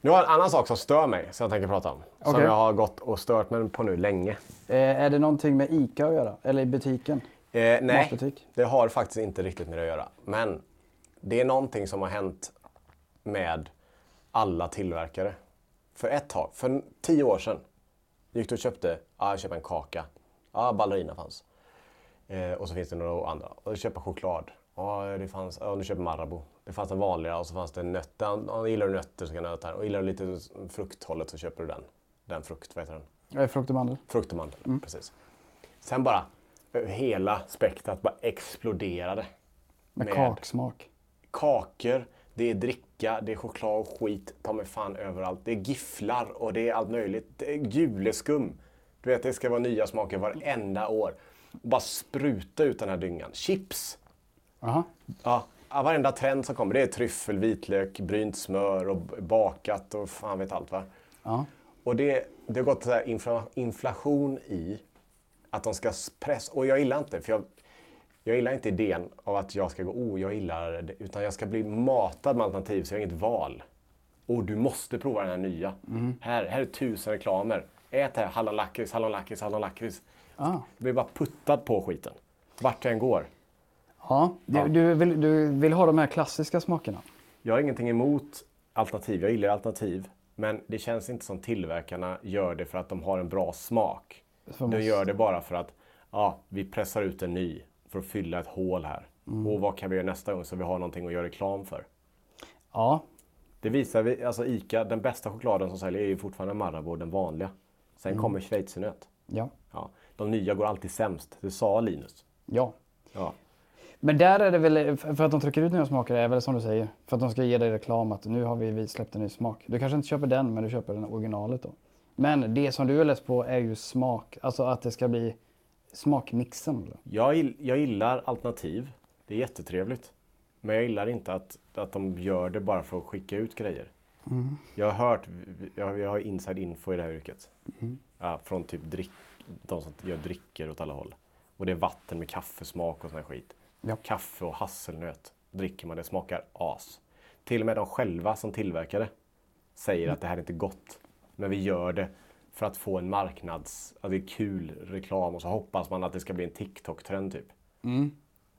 [SPEAKER 1] Nu har jag en annan sak som stör mig, som jag tänker prata om. Som
[SPEAKER 2] Okej.
[SPEAKER 1] jag har gått och stört mig på nu länge.
[SPEAKER 2] Eh, är det någonting med ICA att göra? Eller i butiken?
[SPEAKER 1] Eh, nej,
[SPEAKER 2] Matbutik.
[SPEAKER 1] det har faktiskt inte riktigt med det att göra. Men det är någonting som har hänt med alla tillverkare. För ett tag, för tio år sedan, gick du och köpte, ja ah, jag köper en kaka. Ja, ah, ballerina fanns. Eh, och så finns det några andra. Och köpa choklad. Ja, det fanns, ja, du köper Marabou. Det fanns den vanliga och så fanns det nötter. Ja, gillar du nötter så kan du äta den. Och gillar du lite frukthållet så köper du den. Den frukt, vad heter den?
[SPEAKER 2] Eh, Frukt och mandel.
[SPEAKER 1] Frukt och mandel, precis. Sen bara eh, hela spektrat bara exploderade.
[SPEAKER 2] Med,
[SPEAKER 1] Med-
[SPEAKER 2] kaksmak.
[SPEAKER 1] kakor, det är dricka, det är choklad och skit, ta mig fan överallt. Det är gifflar och det är allt möjligt. Det är juleskum. Du vet, det ska vara nya smaker varenda år. Bara spruta ut den här dyngan. Chips!
[SPEAKER 2] Jaha.
[SPEAKER 1] Ja, ja, varenda trend som kommer, det är tryffel, vitlök, brynt smör och b- bakat och fan vet allt va.
[SPEAKER 2] Ja.
[SPEAKER 1] Och det, det har gått så här infla, inflation i att de ska pressa. Och jag gillar inte, för jag, jag gillar inte idén av att jag ska gå, oh, jag gillar det, utan jag ska bli matad med alternativ så jag har inget val. Och du måste prova den här nya. Här, här är tusen reklamer. Ät här, hallonlakrits, hallonlakrits, hallonlakrits.
[SPEAKER 2] Ah.
[SPEAKER 1] Jag blir bara puttad på skiten. Vart jag än går.
[SPEAKER 2] Ja. Du,
[SPEAKER 1] Ja.
[SPEAKER 2] Du, vill, du vill ha de här klassiska smakerna.
[SPEAKER 1] Jag har ingenting emot alternativ. Jag gillar alternativ. Men det känns inte som tillverkarna gör det för att de har en bra smak.
[SPEAKER 2] För
[SPEAKER 1] De
[SPEAKER 2] måste-
[SPEAKER 1] gör det bara för att ja, vi pressar ut en ny för att fylla ett hål här.
[SPEAKER 2] Mm.
[SPEAKER 1] Och vad kan vi göra nästa gång så vi har någonting att göra reklam för?
[SPEAKER 2] Ja.
[SPEAKER 1] Det visar vi, alltså ICA, den bästa chokladen som säljer är ju fortfarande Marabou, den vanliga. Sen
[SPEAKER 2] Mm.
[SPEAKER 1] kommer schweizernöt.
[SPEAKER 2] Ja.
[SPEAKER 1] Ja, de nya går alltid sämst, det sa Linus.
[SPEAKER 2] Ja.
[SPEAKER 1] Ja.
[SPEAKER 2] Men där är det väl, för att de trycker ut nya smaker är väl som du säger. För att de ska ge dig reklam att nu har vi, vi släppt en ny smak. Du kanske inte köper den men du köper den originalet då. Men det som du är less på är ju smak, alltså att det ska bli smakmixen. eller?
[SPEAKER 1] Jag, gill- jag gillar alternativ. Det är jättetrevligt. Men jag gillar inte att, att de gör det bara för att skicka ut grejer. Jag har hört, jag, jag har inside info i det här yrket. Ja, från typ drick, de som gör drycker åt alla håll. Och det är vatten med kaffesmak och sån här skit.
[SPEAKER 2] Ja.
[SPEAKER 1] Kaffe och hasselnöt dricker man, det smakar as. Till och med de själva som tillverkar det säger att det här är inte gott. Men vi gör det för att få en marknads... Att det är kul reklam och så hoppas man att det ska bli en TikTok-trend typ.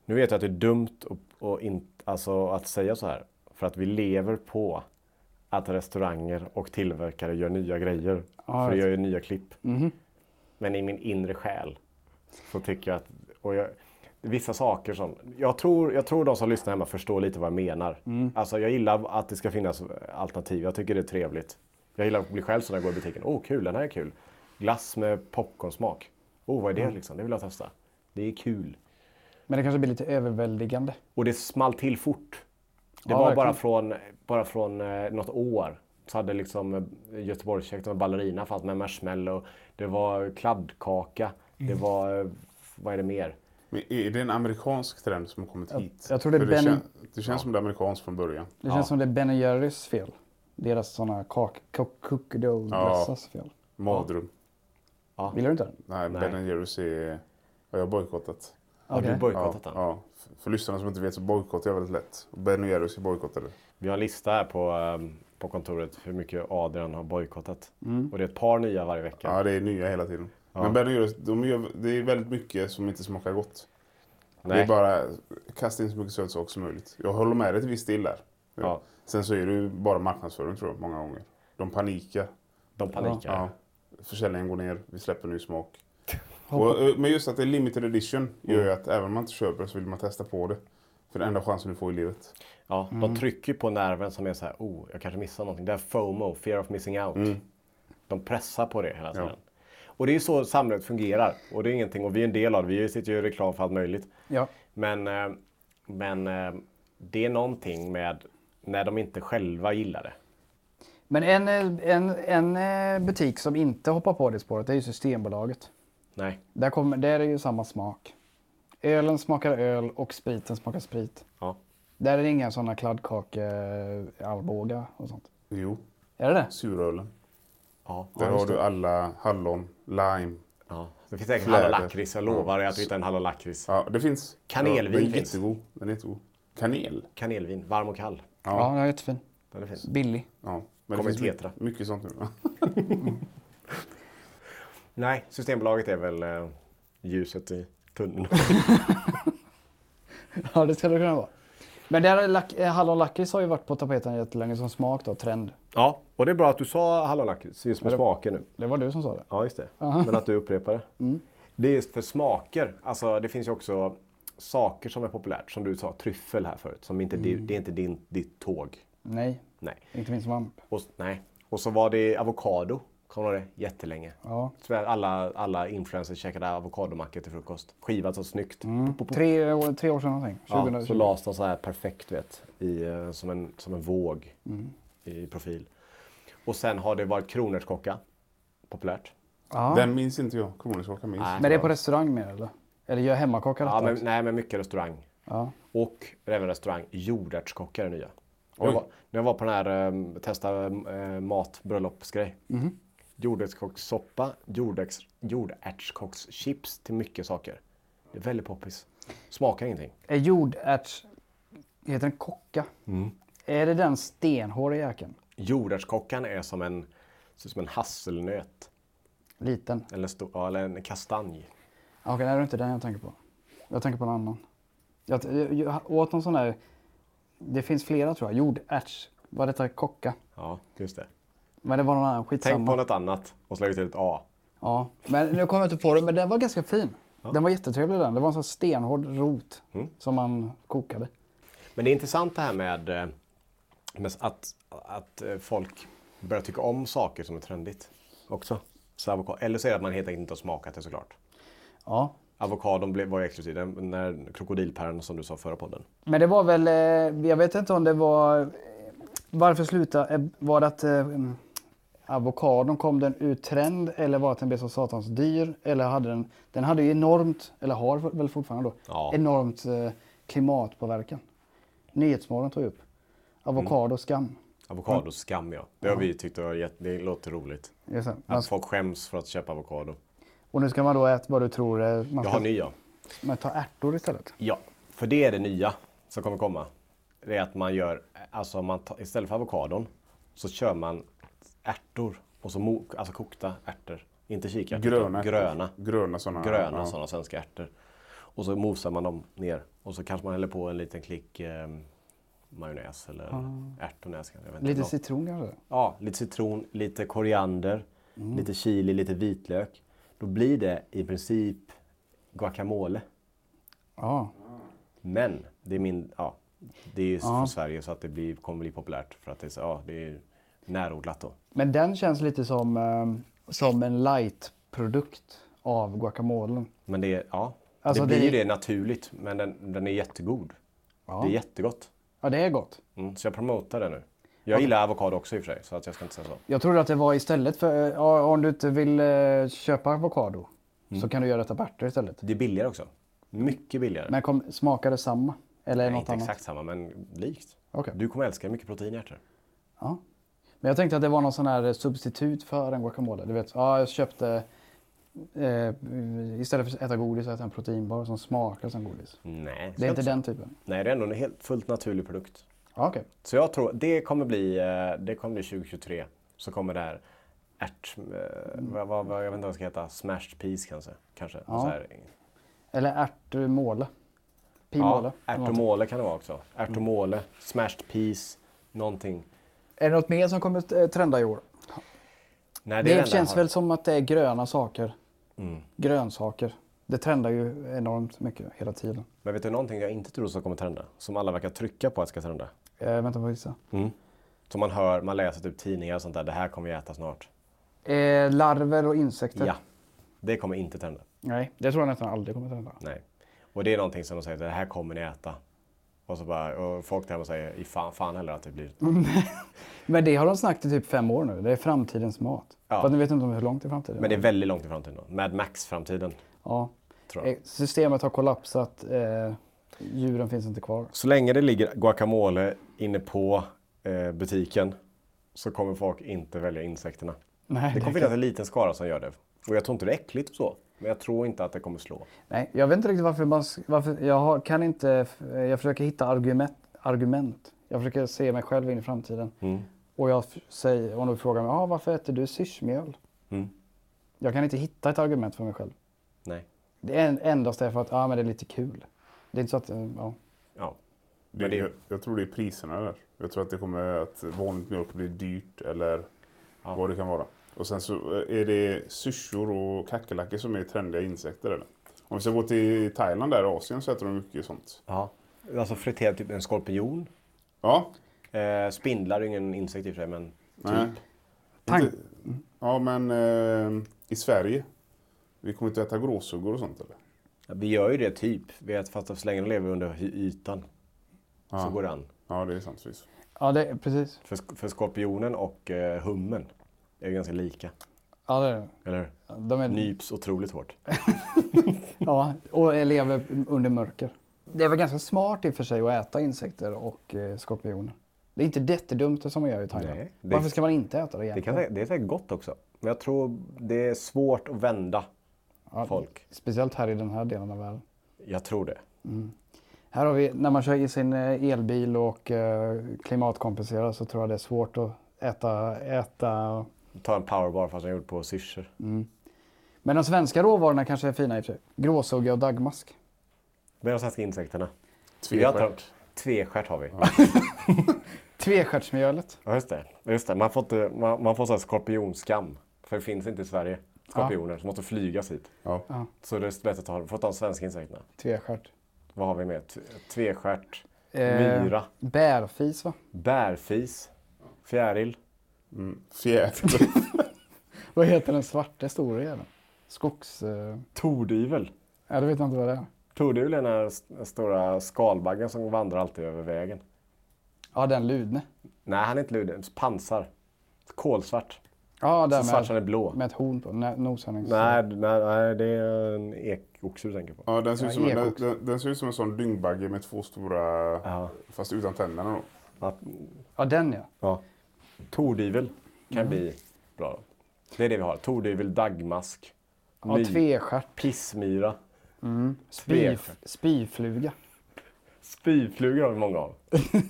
[SPEAKER 1] Nu vet jag att det är dumt och, och in, alltså att säga så här. För att vi lever på att restauranger och tillverkare gör nya grejer. för det gör ju nya klipp. Men i min inre själ så tycker jag att... Och jag, vissa saker som... Jag tror, jag tror de som lyssnar hemma förstår lite vad jag menar. Alltså jag gillar att det ska finnas alternativ. Jag tycker det är trevligt. Jag gillar att bli själv så när jag går i butiken. Åh, oh, kul, den här är kul. Glass med popcornsmak. Åh, oh, vad är det liksom? Det vill jag testa. Det är kul.
[SPEAKER 2] Men det kanske blir lite överväldigande.
[SPEAKER 1] Och det small till fort. Det
[SPEAKER 2] Ja,
[SPEAKER 1] var
[SPEAKER 2] verkligen.
[SPEAKER 1] bara från, bara från eh, något år. Så hade liksom eh, Göteborgskäften med ballerina fanns med marshmallow. Det var kladdkaka. Det
[SPEAKER 2] Mm.
[SPEAKER 1] var, eh, vad är det mer?
[SPEAKER 3] Men är det en amerikansk trend som har kommit hit?
[SPEAKER 2] jag tror det är
[SPEAKER 3] För det,
[SPEAKER 2] Ben-
[SPEAKER 3] kän, det känns som det är amerikanskt från början.
[SPEAKER 2] Det känns som det är Ben Jerrys fel. Deras sådana kak... kak- Cookie dough dressas fel.
[SPEAKER 3] Madrum.
[SPEAKER 2] Vill du inte den?
[SPEAKER 3] Nej, Ben Jerrys är... Har jag bojkottat?
[SPEAKER 1] Har du
[SPEAKER 2] Okej.
[SPEAKER 1] bojkottat den?
[SPEAKER 3] Ja. För- För lyssnarna som inte vet så bojkottar jag väldigt lätt. Och Ben Jerrys är bojkottade.
[SPEAKER 1] Vi har en lista här på, eh, på kontoret hur mycket Adrian har bojkottat.
[SPEAKER 2] Mm.
[SPEAKER 1] Och det är ett par nya varje vecka.
[SPEAKER 3] Ja, det är nya hela tiden. Men Ben Jerrys, de gör, det är väldigt mycket som inte smakar gott. Det
[SPEAKER 1] Nej.
[SPEAKER 3] är bara kasta in så mycket sötsak som möjligt. Jag håller med dig till viss del där.
[SPEAKER 1] Ja.
[SPEAKER 3] Sen så är det ju bara marknadsföring tror jag, många gånger. De panikar.
[SPEAKER 1] De panikar.
[SPEAKER 3] Ja. Försäljningen går ner, vi släpper ny smak. Och, eh, men just att det är limited edition gör
[SPEAKER 1] Mm.
[SPEAKER 3] ju att även om man inte köper så vill man testa på det. För det är enda chansen du får i livet.
[SPEAKER 1] Ja, de trycker på nerven som är så här, oh, jag kanske missar någonting. Det är FOMO, fear of missing out. De pressar på det hela tiden. Och det är så samhället fungerar. Och det är ingenting, och vi är en del av det. Vi sitter ju i reklam för allt möjligt.
[SPEAKER 2] Ja.
[SPEAKER 1] Men, eh, men eh, det är någonting med när de inte själva gillar det.
[SPEAKER 2] Men en, eh, en, en eh, butik som inte hoppar på det spåret det är ju Systembolaget.
[SPEAKER 1] Nej.
[SPEAKER 2] Där, kommer, där är ju samma smak. Ölen smakar öl och spriten smakar sprit.
[SPEAKER 1] Ja.
[SPEAKER 2] Där är det inga sådana kladdkake-armbågar och sånt.
[SPEAKER 3] Jo,
[SPEAKER 2] Är det det?
[SPEAKER 3] surölen.
[SPEAKER 1] Ja.
[SPEAKER 3] Där har du alla hallon, lime.
[SPEAKER 1] ja. Det finns säkert
[SPEAKER 3] Fläder.
[SPEAKER 1] hallonlakrits, jag lovar att du hittar en hallonlakrits.
[SPEAKER 3] Ja, det finns.
[SPEAKER 1] Kanelvin
[SPEAKER 3] Den är
[SPEAKER 1] finns.
[SPEAKER 3] jättegod. Den är jättegod. Kanel.
[SPEAKER 1] Kanelvin, varm och kall.
[SPEAKER 2] Ja, den är jättefin.
[SPEAKER 1] Den är fin.
[SPEAKER 2] Billig.
[SPEAKER 3] Ja. Men
[SPEAKER 1] Kommer
[SPEAKER 3] det finns
[SPEAKER 1] tetra.
[SPEAKER 3] mycket, mycket sånt nu.
[SPEAKER 1] Nej, Systembolaget är väl eh, ljuset i tunneln.
[SPEAKER 2] Ja, det skulle det kunna vara. Men där är lack- eh, hallonlakrits har ju varit på tapeten jättelänge som smak då, trend.
[SPEAKER 1] Ja, och det är bra att du sa hallonlakrits just med smaken nu.
[SPEAKER 2] Det var du som sa det.
[SPEAKER 1] Ja, just det. Men att du upprepar det. Det är just för smaker. Alltså det finns ju också saker som är populärt. Som du sa, tryffel här förut. Som inte, det, det är inte din, ditt tåg.
[SPEAKER 2] Nej,
[SPEAKER 1] Nej.
[SPEAKER 2] inte min svamp.
[SPEAKER 1] Och, s- nej. Och så var det avokado. Kommer du ihåg det? Jättelänge.
[SPEAKER 2] Ja.
[SPEAKER 1] Så Alla, alla influencers käkade avokadomackor till frukost. Skivat så snyggt.
[SPEAKER 2] Tre, år- tre år sedan någonting.
[SPEAKER 1] Ja,
[SPEAKER 2] 2020.
[SPEAKER 1] så lades de så här perfekt vet, i, eh, som, en, som en våg i profil. Och sen har det varit kronärtskocka. Populärt.
[SPEAKER 2] ja.
[SPEAKER 3] Den minns inte jag. Kronärtskocka minns
[SPEAKER 1] Nej.
[SPEAKER 3] jag.
[SPEAKER 2] Men det är på restaurang mer eller? Eller gör hemmakockar
[SPEAKER 1] Ja,
[SPEAKER 2] detta?
[SPEAKER 1] men,
[SPEAKER 2] också?
[SPEAKER 1] nej, men mycket restaurang.
[SPEAKER 2] ja.
[SPEAKER 1] Och även restaurang. Jordärtskocka är det nya. När
[SPEAKER 3] Oj.
[SPEAKER 1] jag, var, när jag var på den här eh, testa eh, matbröllopsgrej. Mm. Jordärtskockssoppa, jordärts- jordärtskockschips till mycket saker. Det är väldigt poppis. Smakar ingenting.
[SPEAKER 2] Är jordärts... Heter den kocka?
[SPEAKER 1] Mm.
[SPEAKER 2] Är det den stenhåriga jäkeln?
[SPEAKER 1] Jordärtskockan är som en, ser ut som en hasselnöt.
[SPEAKER 2] Liten?
[SPEAKER 1] Eller, stor, ja, eller en kastanj.
[SPEAKER 2] Okej, nej, det är inte den jag tänker på. Jag tänker på en annan. Jag, jag, jag åt någon sån där... Det finns flera tror jag. Jordärts. Var detta kocka?
[SPEAKER 1] Ja, just det.
[SPEAKER 2] Men det var någon annan.
[SPEAKER 1] Tänk
[SPEAKER 2] Skitsamma.
[SPEAKER 1] på något annat och slå ut ett A.
[SPEAKER 2] Ja, men nu kommer jag inte på det. Men den var ganska fin. Den var jättetrevlig den. Det var en sån stenhård rot
[SPEAKER 1] Mm.
[SPEAKER 2] som man kokade.
[SPEAKER 1] Men det är intressant det här med, eh, med att, att eh, folk börjar tycka om saker som är trendigt också. Så avokado, eller så är det att man helt enkelt inte har smakat det såklart.
[SPEAKER 2] Ja.
[SPEAKER 1] Avokadon blev, var ju exklusiv. Den, när krokodilpäron som du sa förra podden.
[SPEAKER 2] Men det var väl... eh, Jag vet inte om det var... eh, Varför sluta? eh, Var det att eh, mm, avokadon kom den ur trend eller var det att den blev så satans dyr? Eller hade den... Den hade ju enormt, eller har väl fortfarande då,
[SPEAKER 1] Ja.
[SPEAKER 2] enormt eh, klimatpåverkan. Nyhetsmorgon tog upp. Avokado
[SPEAKER 1] Mm.
[SPEAKER 2] skam.
[SPEAKER 1] Avokadoskam ja. Det har vi tyckt var jätte, det låter roligt.
[SPEAKER 2] Just det. Man,
[SPEAKER 1] Att folk skäms för att köpa avokado.
[SPEAKER 2] alltså, och nu ska man då äta vad du tror eh, man
[SPEAKER 1] Jag
[SPEAKER 2] ska...
[SPEAKER 1] har nya.
[SPEAKER 2] Men ta ärtor istället.
[SPEAKER 1] Ja, för det är det nya som kommer komma. Det är att man gör, alltså man tar, istället för avokadon så kör man ärtor. Och så mo, alltså kokta ärtor. Inte kikärtor.
[SPEAKER 3] Gröna.
[SPEAKER 1] utan Gröna.
[SPEAKER 3] Gröna sådana.
[SPEAKER 1] Gröna
[SPEAKER 3] ja.
[SPEAKER 1] sådana svenska ärtor. Och så mosar man dem ner. Och så kanske man häller på en liten klick eh, majonnäs eller ärtonäs. Jag vet inte,
[SPEAKER 2] Lite
[SPEAKER 1] något.
[SPEAKER 2] citron kanske?
[SPEAKER 1] Ja, lite citron, lite koriander,
[SPEAKER 3] Mm.
[SPEAKER 1] lite chili, lite vitlök. Då blir det i princip guacamole.
[SPEAKER 2] Ja.
[SPEAKER 1] Men det är min, ja, det är ju från Sverige så att det blir, kommer bli populärt för att det är, så- ja, det är närodlat då.
[SPEAKER 2] Men den känns lite som, eh, som en light-produkt av guacamolen.
[SPEAKER 1] Men det, är, ja,
[SPEAKER 2] Alltså,
[SPEAKER 1] det blir
[SPEAKER 2] det-
[SPEAKER 1] ju det naturligt, men den, den är jättegod. Det är jättegott.
[SPEAKER 2] Ja, det är gott.
[SPEAKER 1] Mm, så jag promotar det nu. Jag gillar avokado också i och för sig, så att jag ska inte säga så.
[SPEAKER 2] Jag trodde att det var istället för, eh, ja, om du inte vill eh, köpa avokado
[SPEAKER 1] Mm.
[SPEAKER 2] så kan du göra detta på ärtor istället.
[SPEAKER 1] Det är billigare också. Mycket billigare.
[SPEAKER 2] Men kom, smakar det samma? Eller
[SPEAKER 1] Nej,
[SPEAKER 2] något
[SPEAKER 1] inte
[SPEAKER 2] annat?
[SPEAKER 1] exakt samma, men likt.
[SPEAKER 2] Okej.
[SPEAKER 1] Du kommer älska hur mycket protein i ärtor.
[SPEAKER 2] Ja. Men jag tänkte att det var någon sån här eh, substitut för en guacamole. Du vet, ja, jag köpte, eh, istället för att äta godis så äter jag en proteinbar som smakar som godis.
[SPEAKER 1] Nej,
[SPEAKER 2] Det är inte
[SPEAKER 1] så-
[SPEAKER 2] den typen?
[SPEAKER 1] Nej, det är ändå en helt fullt naturlig produkt.
[SPEAKER 2] Ja, okej.
[SPEAKER 1] Så jag tror det kommer bli, eh, det kommer bli 2023. Så kommer det här ärt... eh,
[SPEAKER 2] Mm.
[SPEAKER 1] Vad, vad, vad, jag vet inte vad det ska heta. Smashed peas kanske. kanske. Ja. Så här.
[SPEAKER 2] Eller ärtmåle. Pimåle.
[SPEAKER 1] Ja, ärtomole kan det vara också.
[SPEAKER 2] Mm.
[SPEAKER 1] Ärtomole, smashed peas, någonting.
[SPEAKER 2] Är det något mer som kommer eh, trenda i år?
[SPEAKER 1] Nej,
[SPEAKER 2] Det,
[SPEAKER 1] är enda jag
[SPEAKER 2] känns
[SPEAKER 1] har. Mm.
[SPEAKER 2] väl som att det är gröna saker. Grönsaker. Det trendar ju enormt mycket hela tiden.
[SPEAKER 1] Men vet du någonting jag inte tror som kommer trenda? Som alla verkar trycka på att ska trenda.
[SPEAKER 2] Eh, vänta på vissa.
[SPEAKER 1] Som man hör, man läser typ tidningar och sånt där. Det här kommer vi äta snart.
[SPEAKER 2] Eh, larver och insekter.
[SPEAKER 1] Ja. Det kommer inte trenda.
[SPEAKER 2] Nej, det tror jag nästan aldrig kommer trenda.
[SPEAKER 1] Nej. Och det är någonting som de säger, det här kommer ni äta. Och så bara, och folk där hemma säger, i fan, fan heller att det blir.
[SPEAKER 2] Mm. Men det har de snackat i typ fem år nu. Det är framtidens mat.
[SPEAKER 1] Ja.
[SPEAKER 2] Fast nu vet jag inte om hur långt i framtiden.
[SPEAKER 1] Men det är väldigt långt i framtiden då. Mad Max-framtiden.
[SPEAKER 2] ja.
[SPEAKER 1] Tror
[SPEAKER 2] eh,
[SPEAKER 1] jag.
[SPEAKER 2] systemet har kollapsat. Eh, djuren finns inte kvar.
[SPEAKER 1] Så länge det ligger guacamole inne på eh, butiken så kommer folk inte välja insekterna.
[SPEAKER 2] Nej,
[SPEAKER 1] det
[SPEAKER 2] det
[SPEAKER 1] kommer finnas en liten skara som gör det. Och jag tror inte det är äckligt och så. Men jag tror inte att det kommer slå.
[SPEAKER 2] Nej, jag vet inte riktigt varför man... s- Varför, jag har, kan inte... Jag försöker hitta argument. argument. Jag försöker se mig själv in i framtiden.
[SPEAKER 1] Mm.
[SPEAKER 2] Och jag f- säger, om du frågar mig, ah, varför äter du syrsmjöl?
[SPEAKER 1] Mm.
[SPEAKER 2] Jag kan inte hitta ett argument för mig själv.
[SPEAKER 1] Nej.
[SPEAKER 2] Det är en- endast därför att, ah, men det är lite kul. Det är inte så att, eh, ja.
[SPEAKER 1] Ja.
[SPEAKER 3] Det,
[SPEAKER 1] Men det-
[SPEAKER 3] jag, jag tror det är priserna där. Jag tror att det kommer att vanligt mjölk blir dyrt eller vad det kan vara. Och sen så eh, är det syrsor och kackerlackor som är trendiga insekter. Eller? Om vi ska gå till Thailand där och Asien så äter de mycket sånt.
[SPEAKER 1] Ja. Alltså friterad typ en skorpion.
[SPEAKER 3] Ja,
[SPEAKER 1] Eh, spindlar är ju ingen insekt i och för sig, men
[SPEAKER 3] nej.
[SPEAKER 2] Pang.
[SPEAKER 3] Inte- Ja, men eh, i Sverige. Vi kommer inte äta gråsuggor och sånt eller?
[SPEAKER 1] ja, vi gör ju det typ. Vi vet, fast så länge den lever under hy- ytan så går det an.
[SPEAKER 3] Ja, det är sant. Precis.
[SPEAKER 2] Ja, det, precis.
[SPEAKER 1] För, sk- för skorpionen och eh, hummen är ju ganska lika.
[SPEAKER 2] Ja, det är det.
[SPEAKER 1] Eller hur?
[SPEAKER 2] De är,
[SPEAKER 1] Nyps otroligt hårt.
[SPEAKER 2] ja, och lever under mörker. Det är väl ganska smart i och för sig att äta insekter och eh, skorpioner. Det är inte jättedumt som man gör i Thailand.
[SPEAKER 1] Nej, det-
[SPEAKER 2] Varför ska man inte äta det
[SPEAKER 1] Det,
[SPEAKER 2] egentligen?
[SPEAKER 1] kan, det är säkert gott också. Men jag tror det är svårt att vända folk.
[SPEAKER 2] Speciellt här i den här delen av världen.
[SPEAKER 1] Jag tror det.
[SPEAKER 2] Här har vi, när man kör i sin eh, elbil och eh, klimatkompenserar så tror jag det är svårt att äta, äta.
[SPEAKER 1] Ta en powerbar fast den är gjord på syrsor.
[SPEAKER 2] Men de svenska råvarorna kanske är fina i och för sig. Gråsugga och dagmask.
[SPEAKER 1] Vad är de svenska insekterna? Vi har
[SPEAKER 3] Tvestjärt.
[SPEAKER 1] tagit- Tvestjärt har vi.
[SPEAKER 2] Tvestjärtsmjölet.
[SPEAKER 1] Ja, just det. Just det. Man får, inte, man, man får så här skorpionskam. För det finns inte i Sverige. Skorpioner som måste flygas hit.
[SPEAKER 3] Ja.
[SPEAKER 1] Så det är bättre att ta, får ta de svenska insekterna.
[SPEAKER 2] Tvestjärt.
[SPEAKER 1] Vad har vi mer? T- Tvestjärt,
[SPEAKER 2] Eh,
[SPEAKER 1] myra,
[SPEAKER 2] Bärfis va?
[SPEAKER 1] bärfis, fjäril.
[SPEAKER 3] Fjäder.
[SPEAKER 2] Vad heter den svarta stora jäveln? Skogs... Eh,
[SPEAKER 1] Tordivel.
[SPEAKER 2] ja, det vet jag inte vad det är.
[SPEAKER 1] Tordivel är den här st- stora skalbaggen som vandrar alltid över vägen.
[SPEAKER 2] Ja, den ludne.
[SPEAKER 1] Nej, han är inte ludig. Pansar. Kolsvart.
[SPEAKER 2] Ja,
[SPEAKER 1] Så
[SPEAKER 2] den
[SPEAKER 1] svart så
[SPEAKER 2] med,
[SPEAKER 1] den är blå.
[SPEAKER 2] med ett horn på. Nä- Noshörnings...
[SPEAKER 1] Nej, nej, nej, det är en ekoxe du tänker på.
[SPEAKER 3] Ja, den ser, ut som,
[SPEAKER 2] Ja,
[SPEAKER 3] den,
[SPEAKER 2] ekox.
[SPEAKER 3] den, den ser ut som en sån dyngbagge med två stora,
[SPEAKER 1] Ja.
[SPEAKER 3] fast utan tänderna då.
[SPEAKER 1] Att-
[SPEAKER 2] Ja, den ja.
[SPEAKER 1] Ja. Tordivel kan
[SPEAKER 2] Mm.
[SPEAKER 1] bli bra. Då. Det är det vi har. Tordivel, dagmask,
[SPEAKER 2] ja
[SPEAKER 1] My-
[SPEAKER 2] Tvestjärt.
[SPEAKER 1] pissmyra.
[SPEAKER 2] Spy,
[SPEAKER 1] Tvestjärt.
[SPEAKER 2] spyfluga.
[SPEAKER 1] Spyflugor har vi många av.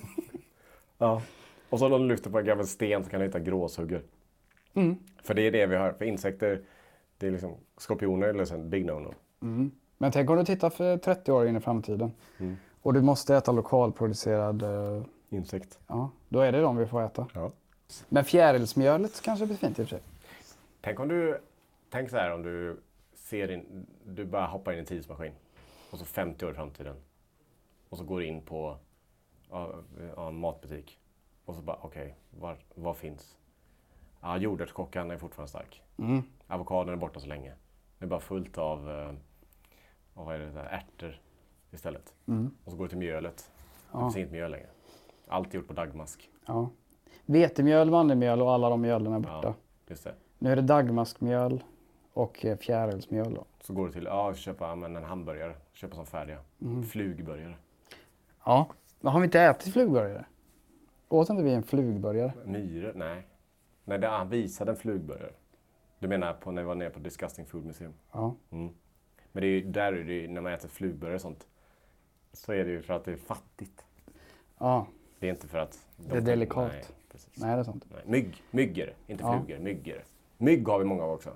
[SPEAKER 1] ja. Och så om de lyfter på en gammal sten så kan du hitta gråsuggor. För det är det vi har. För insekter, det är liksom skorpioner eller liksom big no-no.
[SPEAKER 2] Men tänk om du tittar för 30 år in i framtiden
[SPEAKER 1] Mm.
[SPEAKER 2] och du måste äta lokalproducerad, eh,
[SPEAKER 1] Insekt.
[SPEAKER 2] ja, då är det de vi får äta.
[SPEAKER 1] Ja.
[SPEAKER 2] Men fjärilsmjölet kanske blir fint i och för sig.
[SPEAKER 1] Tänk om du, tänk så här om du ser in, du bara hoppar in i en tidsmaskin och så 50 år i framtiden och så går in på ja, ja, en matbutik och så bara okej, var- vad finns? Ja, jordärtskockan är fortfarande stark. Avokadon är borta så länge. Det är bara fullt av eh, av vad är det, där, ärtor istället. Och så går du till mjölet. Det finns inget mjöl längre. Allt är gjort på dagmask.
[SPEAKER 2] Ja. Vetemjöl, mandelmjöl och alla de mjölen är borta.
[SPEAKER 1] Ja, just det.
[SPEAKER 2] Nu är det dagmaskmjöl och eh, fjärilsmjöl. Då.
[SPEAKER 1] Så går du till ja, köpa ja, men en hamburgare, köpa som färdiga.
[SPEAKER 2] Mm.
[SPEAKER 1] Flugburgare.
[SPEAKER 2] Ja. Men har vi inte ätit flugburgare? Åt inte vi en flugburgare?
[SPEAKER 1] Myror? Nej. Nej, det, han visade en flugburgare. Du menar på när vi var nere på Disgusting Food Museum?
[SPEAKER 2] Ja.
[SPEAKER 1] Men det är ju där är det ju, när man äter flugburgare och sånt så är det ju för att det är fattigt.
[SPEAKER 2] ja.
[SPEAKER 1] Det är inte för att... de-
[SPEAKER 2] Det är delikat.
[SPEAKER 1] Nej, precis.
[SPEAKER 2] Nej, det är sant.
[SPEAKER 1] Nej. Mygg, myggor, inte flugor, myggor. Mygg har vi många av också.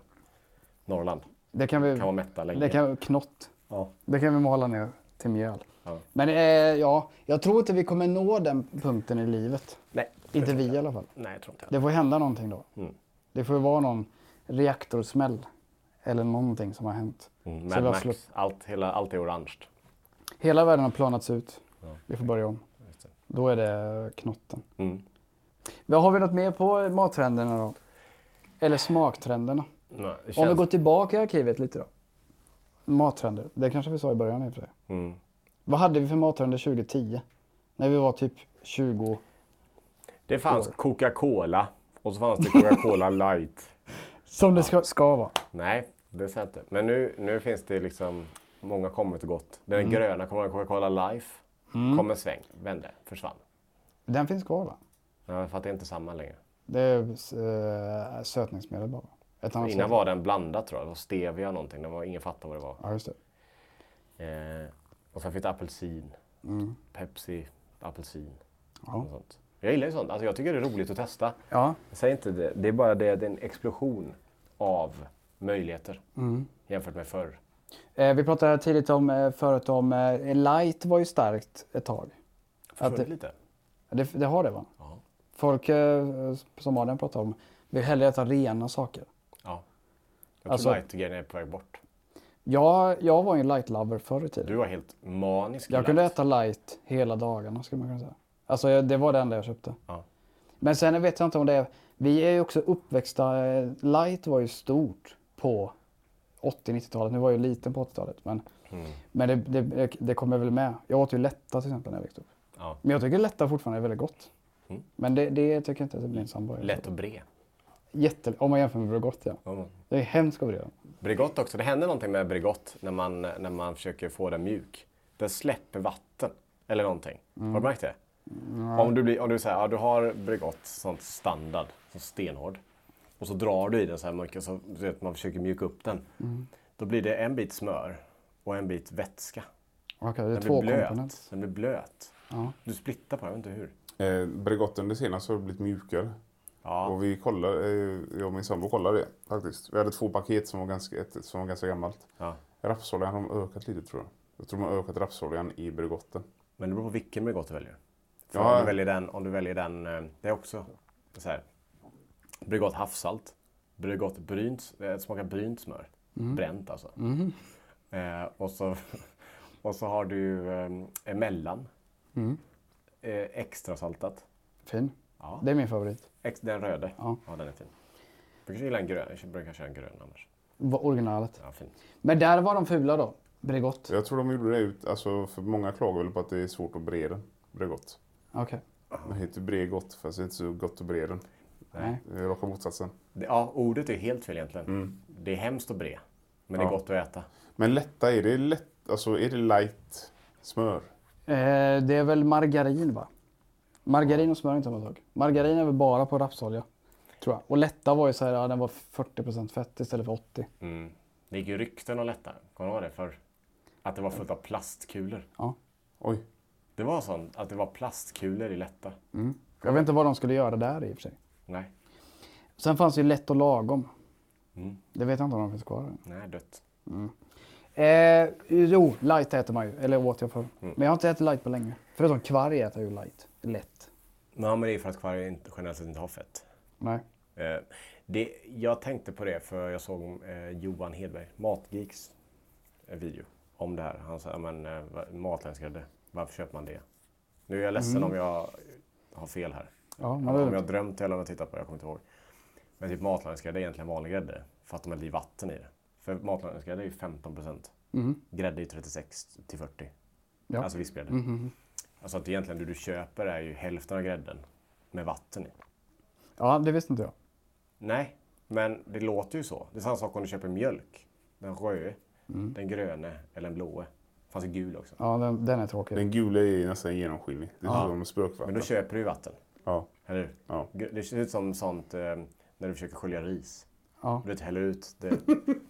[SPEAKER 1] Norrland.
[SPEAKER 2] Det kan vi...
[SPEAKER 1] Kan vara mätta länge.
[SPEAKER 2] det kan, knott.
[SPEAKER 1] Ja.
[SPEAKER 2] Det kan vi mala ner till mjöl.
[SPEAKER 1] Ja.
[SPEAKER 2] Men eh, ja, jag tror inte vi kommer nå den punkten i livet.
[SPEAKER 1] Nej.
[SPEAKER 2] Inte vi i alla fall.
[SPEAKER 1] Nej, jag tror inte
[SPEAKER 2] Det får hända någonting då.
[SPEAKER 1] Mm.
[SPEAKER 2] Det får ju vara någon reaktorsmäll eller någonting som har hänt. Så
[SPEAKER 1] Mm, Mad
[SPEAKER 2] vi har
[SPEAKER 1] Max,
[SPEAKER 2] slå-
[SPEAKER 1] allt, hela, allt är orange.
[SPEAKER 2] Hela världen har planats ut. Vi får börja om. Då är det knotten.
[SPEAKER 1] Mm.
[SPEAKER 2] Men Har vi något mer på mattrenderna då? Eller smaktrenderna?
[SPEAKER 1] Nej, det
[SPEAKER 2] Om vi
[SPEAKER 1] känns-
[SPEAKER 2] går tillbaka i arkivet lite då. Mattrender, det kanske vi sa i början i och för sig.
[SPEAKER 1] Mm.
[SPEAKER 2] Vad hade vi för mattrender 2010? När vi var typ 20.
[SPEAKER 1] Det fanns Coca-Cola och så fanns det Coca-Cola light.
[SPEAKER 2] Som det ska, ska vara.
[SPEAKER 1] Nej, det ser jag inte. Men nu, nu finns det liksom många kommit och gått. Den gröna kommer ihåg Coca-Cola Life. Kom en sväng, vände, försvann.
[SPEAKER 2] Den finns kvar va?
[SPEAKER 1] Ja, För att det är inte samma längre.
[SPEAKER 2] Det är eh, sötningsmedel bara. va? Ett annat
[SPEAKER 1] Innan
[SPEAKER 2] sötningsmedel.
[SPEAKER 1] var den blandad tror jag. Det var stevia någonting. Det var, ingen fattade vad det var.
[SPEAKER 2] Ja, just det.
[SPEAKER 1] Eh, och sen finns det apelsin. Pepsi, apelsin. Och sånt. Jag gillar ju sånt. Alltså, jag tycker det är roligt att testa.
[SPEAKER 2] Ja.
[SPEAKER 1] Säg inte det. Det är bara det, det är en explosion av möjligheter jämfört med förr.
[SPEAKER 2] Eh, vi pratade tidigt om, eh, förut om, eh, light var ju starkt ett tag.
[SPEAKER 1] Försvunnit
[SPEAKER 2] det-
[SPEAKER 1] lite.
[SPEAKER 2] Det, det har det va?
[SPEAKER 1] Ja.
[SPEAKER 2] Folk eh, som Adam pratade om, vill hellre äta rena saker.
[SPEAKER 1] Ja. Jag tror
[SPEAKER 2] Alltså-
[SPEAKER 1] light-grejen är på väg bort.
[SPEAKER 2] Jag, jag var ju en light lover förr i tiden.
[SPEAKER 1] Du var helt manisk. i
[SPEAKER 2] Jag kunde
[SPEAKER 1] light.
[SPEAKER 2] äta light hela dagarna skulle man kunna säga. Alltså jag- det var det enda jag köpte.
[SPEAKER 1] Ja.
[SPEAKER 2] Men sen vet jag inte om det är... Vi är ju också uppväxta... eh, Light var ju stort på 80-90-talet. Nu var jag ju liten på 80-talet. Men,
[SPEAKER 1] Mm.
[SPEAKER 2] men det, det, det kommer väl med. Jag åt ju lätta till exempel när jag växte upp.
[SPEAKER 1] Ja. Mm.
[SPEAKER 2] Men jag tycker lätta fortfarande är väldigt gott. Men det, det tycker jag inte att det blir en sambo.
[SPEAKER 1] Lätt och bred.
[SPEAKER 2] Jätte, om man jämför med Bregott ja.
[SPEAKER 1] Mm.
[SPEAKER 2] Det är hemskt god det.
[SPEAKER 1] Brigott också. Det händer någonting med Brigott när man, när man försöker få den mjuk. Den släpper vatten eller någonting.
[SPEAKER 2] Mm.
[SPEAKER 1] Har du märkt det? Om du, blir, om du, säger, ja, du har Brigott, sånt standard, så stenhård. Och så drar du i den så här mycket, så du vet, man försöker mjuka upp den.
[SPEAKER 2] Mm.
[SPEAKER 1] Då blir det en bit smör och en bit vätska.
[SPEAKER 2] Okej, det är
[SPEAKER 1] Den blir
[SPEAKER 2] två
[SPEAKER 1] blöt.
[SPEAKER 2] komponenter.
[SPEAKER 1] Den blir blöt. Du splittar på den, jag vet inte hur.
[SPEAKER 3] Eh, Bregotten det senaste har blivit mjukare.
[SPEAKER 1] Ja,
[SPEAKER 3] Och vi kollade, eh, jag och min sambo kollade det faktiskt. Vi hade två paket som var ganska, ett, som var ganska gammalt.
[SPEAKER 1] Ja.
[SPEAKER 3] Rapsoljan har de ökat lite tror jag. Jag tror de har ökat rapsoljan i Bregotten.
[SPEAKER 1] men det beror på vilken Brigott du väljer. För
[SPEAKER 3] Ja.
[SPEAKER 1] om, du väljer den, om du väljer den, eh, det är också så här. Brigott havssalt. Brigott brynt, eh, smakar brynt smör.
[SPEAKER 3] Mm.
[SPEAKER 1] Bränt alltså. Eh, och, så, och så har du eh, emellan.
[SPEAKER 3] Mm.
[SPEAKER 1] Eh, extra saltat.
[SPEAKER 2] Fin.
[SPEAKER 1] Ja.
[SPEAKER 2] Det är min favorit.
[SPEAKER 1] Ex, den röda.
[SPEAKER 2] Ja.
[SPEAKER 1] den är fin. Jag brukar gilla en grön. Jag brukar köra en grön annars.
[SPEAKER 2] Va- Originalet.
[SPEAKER 1] Ja, fint.
[SPEAKER 3] Mm.
[SPEAKER 2] Men där var de fula då. Bregott.
[SPEAKER 3] Jag tror de gjorde det ut, alltså för många klagar väl på att det är svårt att breda den. Bregott.
[SPEAKER 2] Okej.
[SPEAKER 3] Den heter Bregott fast det är inte så gott att breda den.
[SPEAKER 2] Nej.
[SPEAKER 3] Det är raka motsatsen.
[SPEAKER 1] Det, ja, ordet är helt fel egentligen. Det är hemskt att bre. Men det är
[SPEAKER 3] Mm. Ja.
[SPEAKER 1] gott att äta.
[SPEAKER 3] Men lätta, är det lätt, alltså är det light smör?
[SPEAKER 2] Eh, det är väl margarin va? Margarin och smör är inte samma sak. Margarin är väl bara på rapsolja. Tror jag. Och lätta var ju så här, ja, den var 40% fett istället för 80.
[SPEAKER 1] Det gick ju rykten om lättare. Kommer du ihåg det? För att det var fullt av plastkulor.
[SPEAKER 2] Ja.
[SPEAKER 3] Oj,
[SPEAKER 1] Det var sånt att det var plastkulor i lätta.
[SPEAKER 2] Jag vet inte vad de skulle göra där i och för sig.
[SPEAKER 1] Nej,
[SPEAKER 2] Sen fanns ju lätt och lagom. Det vet jag inte om de finns kvar. än.
[SPEAKER 1] nej dött.
[SPEAKER 2] Eh, jo, light äter man ju. Eller åt jag förr. Men jag har inte ätit light på länge. Förutom kvarg äter jag ju light. Lätt.
[SPEAKER 1] Ja, men det är för att kvarg inte, generellt sett inte har fett.
[SPEAKER 2] Nej.
[SPEAKER 1] Eh, det, jag tänkte på det för jag såg eh, Johan Hedberg, Matgeeks eh, video om det här. Han sa, "Ja, men eh, va- matlänsgrädde, varför köper man det? Nu är jag ledsen om jag har fel här.
[SPEAKER 2] Mm. Ja, men det är
[SPEAKER 1] om jag
[SPEAKER 2] lugnt.
[SPEAKER 1] drömt eller om jag tittat på det, jag kommer inte ihåg. Men typ matlagrningsgrädde är egentligen vanlig grädde för att de häller i vatten i det. För matlagringsgrädde är ju 15 procent. Grädde är ju 36 till 40.
[SPEAKER 2] Mm-hmm. Ja. Mm-hmm.
[SPEAKER 1] Alltså vispgrädde. Alltså att egentligen det du köper är ju hälften av grädden med vatten i.
[SPEAKER 2] Ja, det visste inte jag.
[SPEAKER 1] Nej, men det låter ju så. Det är samma sak om du köper mjölk. Den röde, den gröne eller den blåe. Det fanns ju gul också.
[SPEAKER 2] Mm. Ja, den, den är tråkig.
[SPEAKER 3] den gula är ju nästan genomskinlig. Det är som
[SPEAKER 1] Men då
[SPEAKER 3] spökvatten.
[SPEAKER 1] köper du ju vatten.
[SPEAKER 3] Ja.
[SPEAKER 1] Eller hur?
[SPEAKER 3] Ja.
[SPEAKER 1] Det ser ut som sånt eh, när du försöker skölja ris.
[SPEAKER 2] Ja.
[SPEAKER 1] Du vet, häller ut det,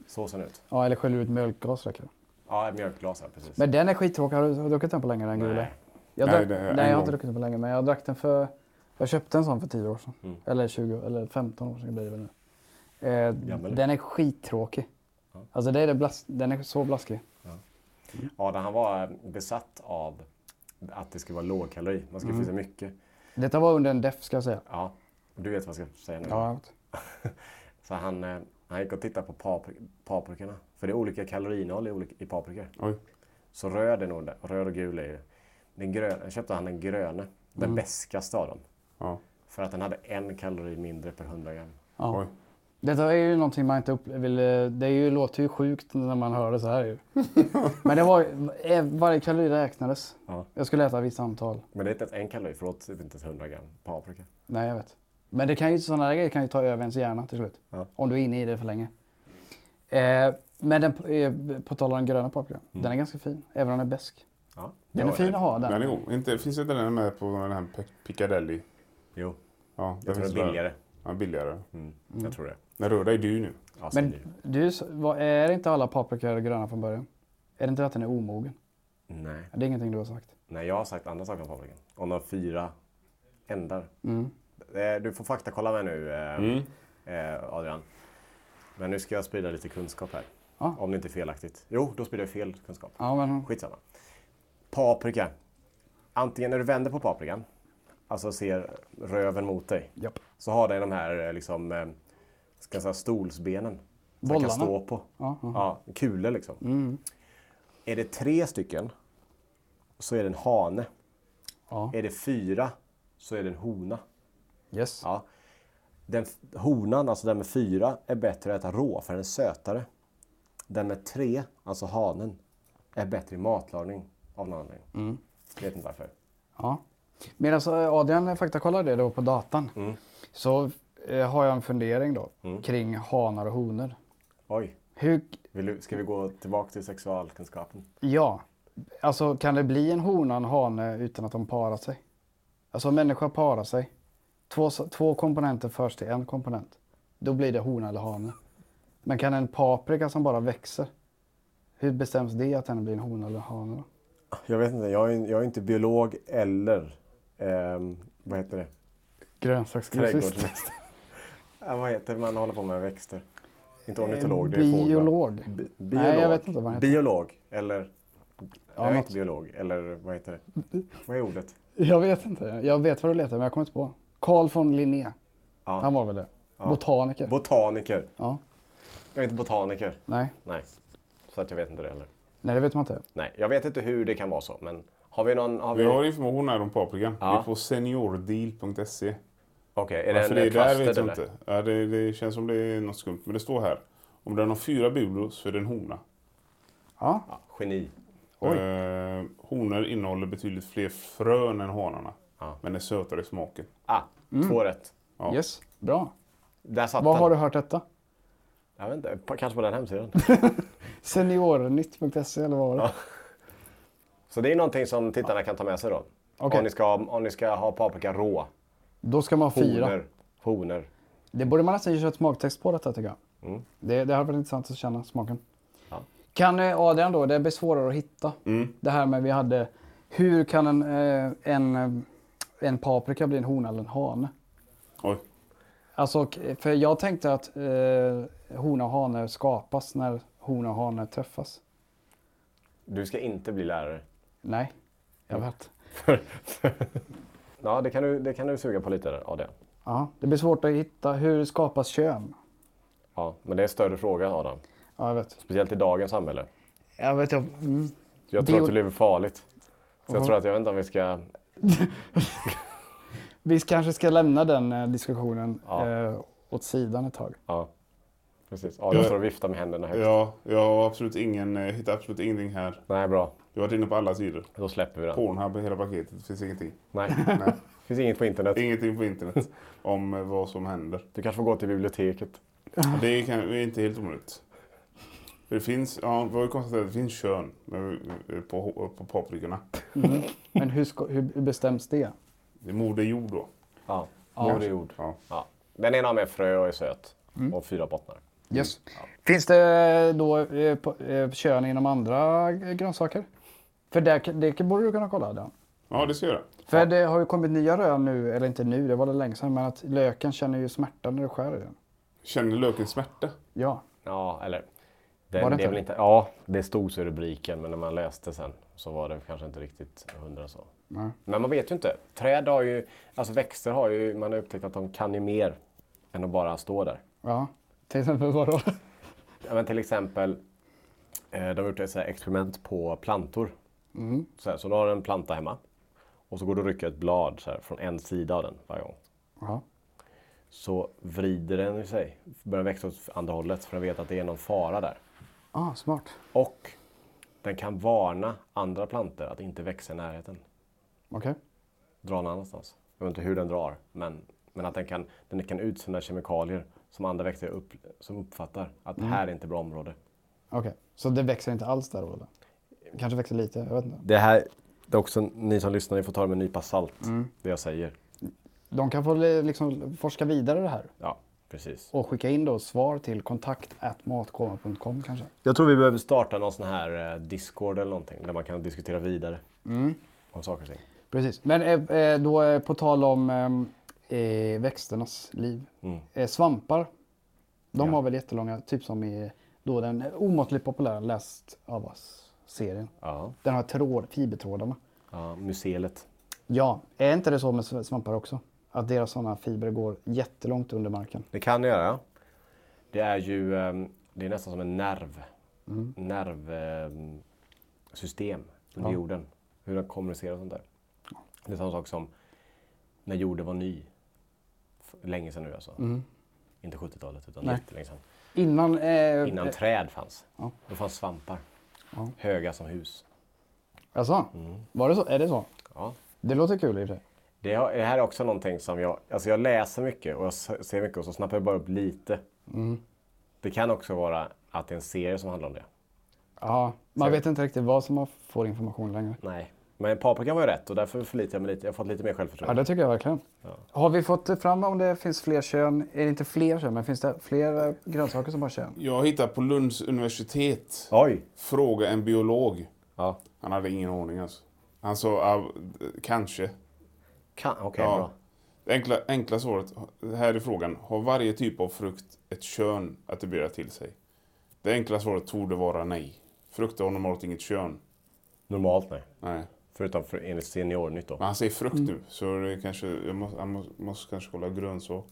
[SPEAKER 1] såsen ut.
[SPEAKER 2] Ja, eller sköljer ut mjölkglas verkligen.
[SPEAKER 1] Ja, ett mjölkglas här, precis.
[SPEAKER 2] Men den är skittråkig. Har du har du druckit den på länge? Den gula?
[SPEAKER 1] Nej.
[SPEAKER 2] Jag
[SPEAKER 3] Nej,
[SPEAKER 2] drack,
[SPEAKER 3] det är
[SPEAKER 2] nej,
[SPEAKER 3] en
[SPEAKER 2] jag har
[SPEAKER 3] gång.
[SPEAKER 2] inte druckit den på länge. Men jag drack den för... Jag köpte en sån för 10 år sedan. Eller 20, eller 15 år sedan blir det väl nu. Eh,
[SPEAKER 1] Gammal.
[SPEAKER 2] den är skittråkig. Alltså det är det blas, den är så blaskig.
[SPEAKER 1] Adam han var eh, besatt av att det ska vara lågkalori. Man ska
[SPEAKER 2] Mm.
[SPEAKER 1] få i sig mycket.
[SPEAKER 2] Detta var under en def ska jag säga.
[SPEAKER 1] Ja, du vet vad jag ska säga nu.
[SPEAKER 2] Ja, jag vet.
[SPEAKER 1] Så han, eh, han gick och tittade på papri- paprikorna. För det är olika kaloriinnehåll i, olika, i paprikor.
[SPEAKER 3] Oj.
[SPEAKER 1] Så röd är nog det. Röd och gul är ju... Den gröna, köpte han den gröna. Den beskaste av dem.
[SPEAKER 3] Ja.
[SPEAKER 1] För att den hade en kalori mindre per 100 gram.
[SPEAKER 3] Oj.
[SPEAKER 2] Detta är ju någonting man inte upp, vill... eh, Det är ju, låter ju sjukt när man hör det så här ju. men det var ju- eh, Varje kalori räknades.
[SPEAKER 1] Ja.
[SPEAKER 2] Jag skulle äta vissa antal.
[SPEAKER 1] Men det är inte ens en kalori, förlåt, det är inte ens 100 gram paprika.
[SPEAKER 2] Nej, jag vet. Men det kan ju, sådana där grejer kan ju ta över ens hjärna till slut.
[SPEAKER 1] Ja.
[SPEAKER 2] Om du är inne i det för länge. Eh, men den, eh, på tal om den gröna paprikan. Den är ganska fin, även om den är besk.
[SPEAKER 1] Ja.
[SPEAKER 2] Den
[SPEAKER 1] Ja,
[SPEAKER 2] är fin
[SPEAKER 1] det-
[SPEAKER 2] att ha
[SPEAKER 3] Den är
[SPEAKER 2] den.
[SPEAKER 3] god. Inte, finns inte den med på den här Pe- Piccadilly?
[SPEAKER 1] Jo,
[SPEAKER 3] Ja,
[SPEAKER 1] jag tror
[SPEAKER 3] finns
[SPEAKER 1] det är
[SPEAKER 3] där.
[SPEAKER 1] billigare.
[SPEAKER 3] Ja, billigare.
[SPEAKER 1] Mm. Jag tror det.
[SPEAKER 3] Den röda är dyr nu.
[SPEAKER 1] Ja, så
[SPEAKER 2] Men
[SPEAKER 1] blir det.
[SPEAKER 2] du, s- vad, är det inte alla paprikor gröna från början? Är det inte att den är omogen?
[SPEAKER 1] Nej.
[SPEAKER 2] Det är ingenting du har sagt.
[SPEAKER 1] Nej, jag har sagt andra saker om fabriken. Om de fyra ändar.
[SPEAKER 2] Mm.
[SPEAKER 1] Eh, Du får faktakolla mig nu, eh, eh, Adrian. Men nu ska jag sprida lite kunskap här.
[SPEAKER 2] Ja.
[SPEAKER 1] Om det inte är felaktigt. Jo, då sprider jag fel kunskap.
[SPEAKER 2] Ja, men
[SPEAKER 1] Skitsamma. Paprika. Antingen när du vänder på paprikan. Alltså ser röven mot dig.
[SPEAKER 2] Japp.
[SPEAKER 1] Så har den de här eh, liksom, eh, ska jag säga, stolsbenen. Som man
[SPEAKER 2] Bollarna.
[SPEAKER 1] kan stå på.
[SPEAKER 2] Ja, Mm.
[SPEAKER 1] Ja, kulor liksom. Är det tre stycken så är det en hane.
[SPEAKER 2] Ja.
[SPEAKER 1] Är det fyra så är det en hona.
[SPEAKER 2] Yes.
[SPEAKER 1] Ja. Den f- honan, alltså den med fyra, är bättre att äta rå för den är sötare. Den med tre, alltså hanen, är bättre i matlagning av någon anledning. Vet inte varför.
[SPEAKER 2] Ja. Medan eh, Adrian faktakollar det då på datan så eh, har jag en fundering då kring hanar och honor.
[SPEAKER 1] Oj,
[SPEAKER 2] Hur,
[SPEAKER 1] vill du, ska vi gå tillbaka till sexualkunskapen?
[SPEAKER 2] ja, alltså kan det bli en hona och en hane utan att de parar sig? Alltså om människa parar sig, två, s- två komponenter förs till en komponent, då blir det hona eller hane. Men kan en paprika som bara växer, hur bestäms det att den blir en hona eller en hane? Då?
[SPEAKER 1] Jag vet inte, jag är, jag är inte biolog eller ehm, vad heter det?
[SPEAKER 2] Grönsaksgrossist.
[SPEAKER 1] ja, vad heter det man håller på med växter? Inte ornitolog, det är fåglar.
[SPEAKER 2] Biolog.
[SPEAKER 1] Bi- biolog.
[SPEAKER 2] Nej, jag vet inte vad han heter.
[SPEAKER 1] Biolog, eller... jag är
[SPEAKER 2] något. Mm.
[SPEAKER 1] inte biolog, eller vad heter det? Vad är ordet?
[SPEAKER 2] Jag vet inte. Jag vet vad du letar men jag kommer inte på. Carl von Linné. Han var väl det? Botaniker?
[SPEAKER 1] Botaniker.
[SPEAKER 2] ja.
[SPEAKER 1] Jag är inte botaniker.
[SPEAKER 2] Nej.
[SPEAKER 1] Nej, så att jag vet inte det heller.
[SPEAKER 2] Nej, det vet man inte.
[SPEAKER 1] Nej, jag vet inte hur det kan vara så, men har vi någon... Har vi...
[SPEAKER 3] Vi har information här om paprikan.
[SPEAKER 1] Ja.
[SPEAKER 3] Det är på seniordeal.se.
[SPEAKER 1] Okej, är det
[SPEAKER 3] Varför det är
[SPEAKER 1] en
[SPEAKER 3] där
[SPEAKER 1] plast
[SPEAKER 3] vet jag
[SPEAKER 1] eller?
[SPEAKER 3] inte. Ja, det, det känns som det är något skumt. Men det står här. Om den har fyra bulor så är det en hona.
[SPEAKER 2] Ja.
[SPEAKER 1] Ja, geni.
[SPEAKER 3] Eh, honor innehåller betydligt fler frön än hanarna.
[SPEAKER 1] Ja.
[SPEAKER 3] Men är sötare i smaken.
[SPEAKER 1] Ah, två rätt.
[SPEAKER 3] Ja.
[SPEAKER 2] Yes. Bra.
[SPEAKER 1] Där satt
[SPEAKER 2] Var
[SPEAKER 1] den.
[SPEAKER 2] Mm. har du hört detta?
[SPEAKER 1] Jag vet inte, på- kanske på den hemsidan.
[SPEAKER 2] Seniornytt.se eller vad var det?
[SPEAKER 1] så det är någonting som tittarna kan ta med sig då.
[SPEAKER 2] Okej.
[SPEAKER 1] Om, ni ska, om ni ska ha paprika rå.
[SPEAKER 2] Då ska man ha fyra.
[SPEAKER 1] Honor. Honor.
[SPEAKER 2] Det borde man nästan köra ett smaktext på detta tycker jag. Det, det hade varit intressant att känna smaken. Kan eh, Adrian då, det blir svårare att hitta. Det här med vi hade, hur kan en, eh, en, eh, en paprika bli en hona eller en hane?
[SPEAKER 3] Oj.
[SPEAKER 2] Alltså, k- för jag tänkte att eh, hona och hane skapas när hona och hane träffas.
[SPEAKER 1] Du ska inte bli lärare.
[SPEAKER 2] Nej, jag vet.
[SPEAKER 1] Ja, det kan du, det kan du suga på lite där, Adrian.
[SPEAKER 2] Ja, det blir svårt att hitta. Hur skapas kön?
[SPEAKER 1] Ja, men det är en större fråga, Adam.
[SPEAKER 2] Ja, jag vet.
[SPEAKER 1] Speciellt i dagens samhälle.
[SPEAKER 2] Jag vet, jag... Mm.
[SPEAKER 1] Jag tror
[SPEAKER 2] Det-
[SPEAKER 1] att det blir farligt. Så jag tror att jag vet inte om vi ska...
[SPEAKER 2] Vi kanske ska lämna den eh, diskussionen
[SPEAKER 1] Ja.
[SPEAKER 2] eh, åt sidan ett tag.
[SPEAKER 1] Ja, precis. Adam står och viftar med händerna högt.
[SPEAKER 3] Ja, jag har absolut ingen, eh, hittar absolut ingenting här.
[SPEAKER 1] Nej, bra.
[SPEAKER 3] Jag har varit inne på alla sidor.
[SPEAKER 1] Då släpper vi den.
[SPEAKER 3] Pornhub, hela paketet. Det finns ingenting.
[SPEAKER 1] Nej,
[SPEAKER 3] Nej.
[SPEAKER 1] det finns inget på internet.
[SPEAKER 3] Ingenting på internet om eh, vad som händer.
[SPEAKER 1] Du kanske får gå till biblioteket.
[SPEAKER 3] Det kan, det är inte helt omöjligt. För Det finns, ja, vi har ju konstaterat att det finns kön eh, på, på paprikorna.
[SPEAKER 2] Men hur, ska, hur hur bestäms det?
[SPEAKER 3] Det är Moder Jord då.
[SPEAKER 1] Ja, ja. det är ord.
[SPEAKER 3] Ja.
[SPEAKER 1] Ja. Den ena har med frö och är söt. Och fyra bottnar.
[SPEAKER 2] Yes. Finns det då eh, på- eh, kön inom andra eh, grönsaker? För det, det borde du kunna kolla, Dan.
[SPEAKER 3] ja, det ska jag göra.
[SPEAKER 2] För det har ju kommit nya rön nu, eller inte nu, det var det länge sedan, men att löken känner ju smärta när du skär i den.
[SPEAKER 3] Känner löken smärta?
[SPEAKER 2] Ja.
[SPEAKER 1] Ja, eller... Det,
[SPEAKER 2] Var det
[SPEAKER 1] det
[SPEAKER 2] inte?
[SPEAKER 1] är väl inte... Ja, det stod så i rubriken, men när man läste sen så var det kanske inte riktigt hundra så. Men man vet ju inte. Träd har ju... Alltså växter har ju... Man har upptäckt att de kan ju mer än att bara stå där.
[SPEAKER 2] Ja. Till exempel vadå?
[SPEAKER 1] Ja, men till exempel, eh, de har gjort ett så här experiment på plantor.
[SPEAKER 2] Mm.
[SPEAKER 1] Så, här, så du har en planta hemma och så går du och rycker ett blad så här, från en sida av den varje gång.
[SPEAKER 2] Ja.
[SPEAKER 1] Så vrider den i sig, börjar växa åt andra hållet för den vet att det är någon fara där.
[SPEAKER 2] Ah, smart.
[SPEAKER 1] Och den kan varna andra plantor att inte växa i närheten.
[SPEAKER 2] Okej.
[SPEAKER 1] Dra någon annanstans. Jag vet inte hur den drar, men, men att den kan, den kan utsöndra kemikalier som andra växter upp, som uppfattar att det här är inte bra område.
[SPEAKER 2] Okej. Så det växer inte alls där då eller? Kanske växer lite, jag vet inte.
[SPEAKER 1] Det här, det är också ni som lyssnar, ni får ta det med en nypa salt, det jag säger.
[SPEAKER 2] De kan få li- liksom forska vidare i det här
[SPEAKER 1] Ja, precis.
[SPEAKER 2] och skicka in då svar till kontakt matkoma.com kanske.
[SPEAKER 1] Jag tror vi behöver starta någon sån här eh, Discord eller någonting, där man kan diskutera vidare Mm. om saker och ting.
[SPEAKER 2] Precis. Men eh, eh, då eh, på tal om eh, eh, växternas liv.
[SPEAKER 1] Mm.
[SPEAKER 2] Eh, svampar, de har väl jättelånga, typ som i då den omåttligt populära Last of Us-serien.
[SPEAKER 1] Ja,
[SPEAKER 2] Den har tråd, fibertrådarna.
[SPEAKER 1] ja museet.
[SPEAKER 2] Ja, är inte det så med sv- svampar också? Att deras sådana fibrer går jättelångt under marken.
[SPEAKER 1] Det kan göra. Det är ju ehm, det är nästan som en nerv.
[SPEAKER 2] Mm.
[SPEAKER 1] Nervsystem under jorden. Hur den kommunicerar och sånt där. Det är samma sak som när jorden var ny. F- Länge sedan nu alltså. Inte 70-talet utan
[SPEAKER 2] Mm. Nej.
[SPEAKER 1] jättelänge sedan.
[SPEAKER 2] Innan... Eh,
[SPEAKER 1] Innan
[SPEAKER 2] eh,
[SPEAKER 1] träd fanns.
[SPEAKER 2] Ja.
[SPEAKER 1] Då fanns svampar.
[SPEAKER 2] Ja.
[SPEAKER 1] Höga som hus.
[SPEAKER 2] Alltså,
[SPEAKER 1] Mm.
[SPEAKER 2] var det så? Är det så?
[SPEAKER 1] Ja.
[SPEAKER 2] Det låter kul i och för sig.
[SPEAKER 1] Det har- det här är också någonting som jag... Alltså jag läser mycket och jag s- ser mycket och så snappar jag bara upp lite.
[SPEAKER 2] Mm.
[SPEAKER 1] Det kan också vara att det är en serie som handlar om det.
[SPEAKER 2] Ja, man vet inte riktigt vad som man får information längre.
[SPEAKER 1] Nej, men paprikan var ju rätt och därför förlitar jag mig lite. Jag har fått lite mer
[SPEAKER 2] Ja,
[SPEAKER 1] självförtroende.
[SPEAKER 2] det tycker jag verkligen. Har vi fått fram om det finns fler kön? Är det inte fler kön, men finns det fler eh, grönsaker som har kön?
[SPEAKER 3] Jag hittar på Lunds universitet.
[SPEAKER 1] Oj!
[SPEAKER 3] Fråga en biolog.
[SPEAKER 1] Ja.
[SPEAKER 3] Han hade ingen aning alltså. Han sa ah, kanske.
[SPEAKER 1] Kan, Okej,
[SPEAKER 3] Ja.
[SPEAKER 1] bra.
[SPEAKER 3] Det enkla, enkla svaret här är frågan. Har varje typ av frukt ett kön att attribuera till sig? Det enkla svaret torde vara nej. Frukter har normalt inget kön.
[SPEAKER 1] Normalt nej.
[SPEAKER 3] Nej.
[SPEAKER 1] Förutom för, enligt seniornytt då.
[SPEAKER 3] Men han säger
[SPEAKER 1] Mm.
[SPEAKER 3] frukt nu, så det kanske, jag måste, han måste, måste kanske kolla grönsak.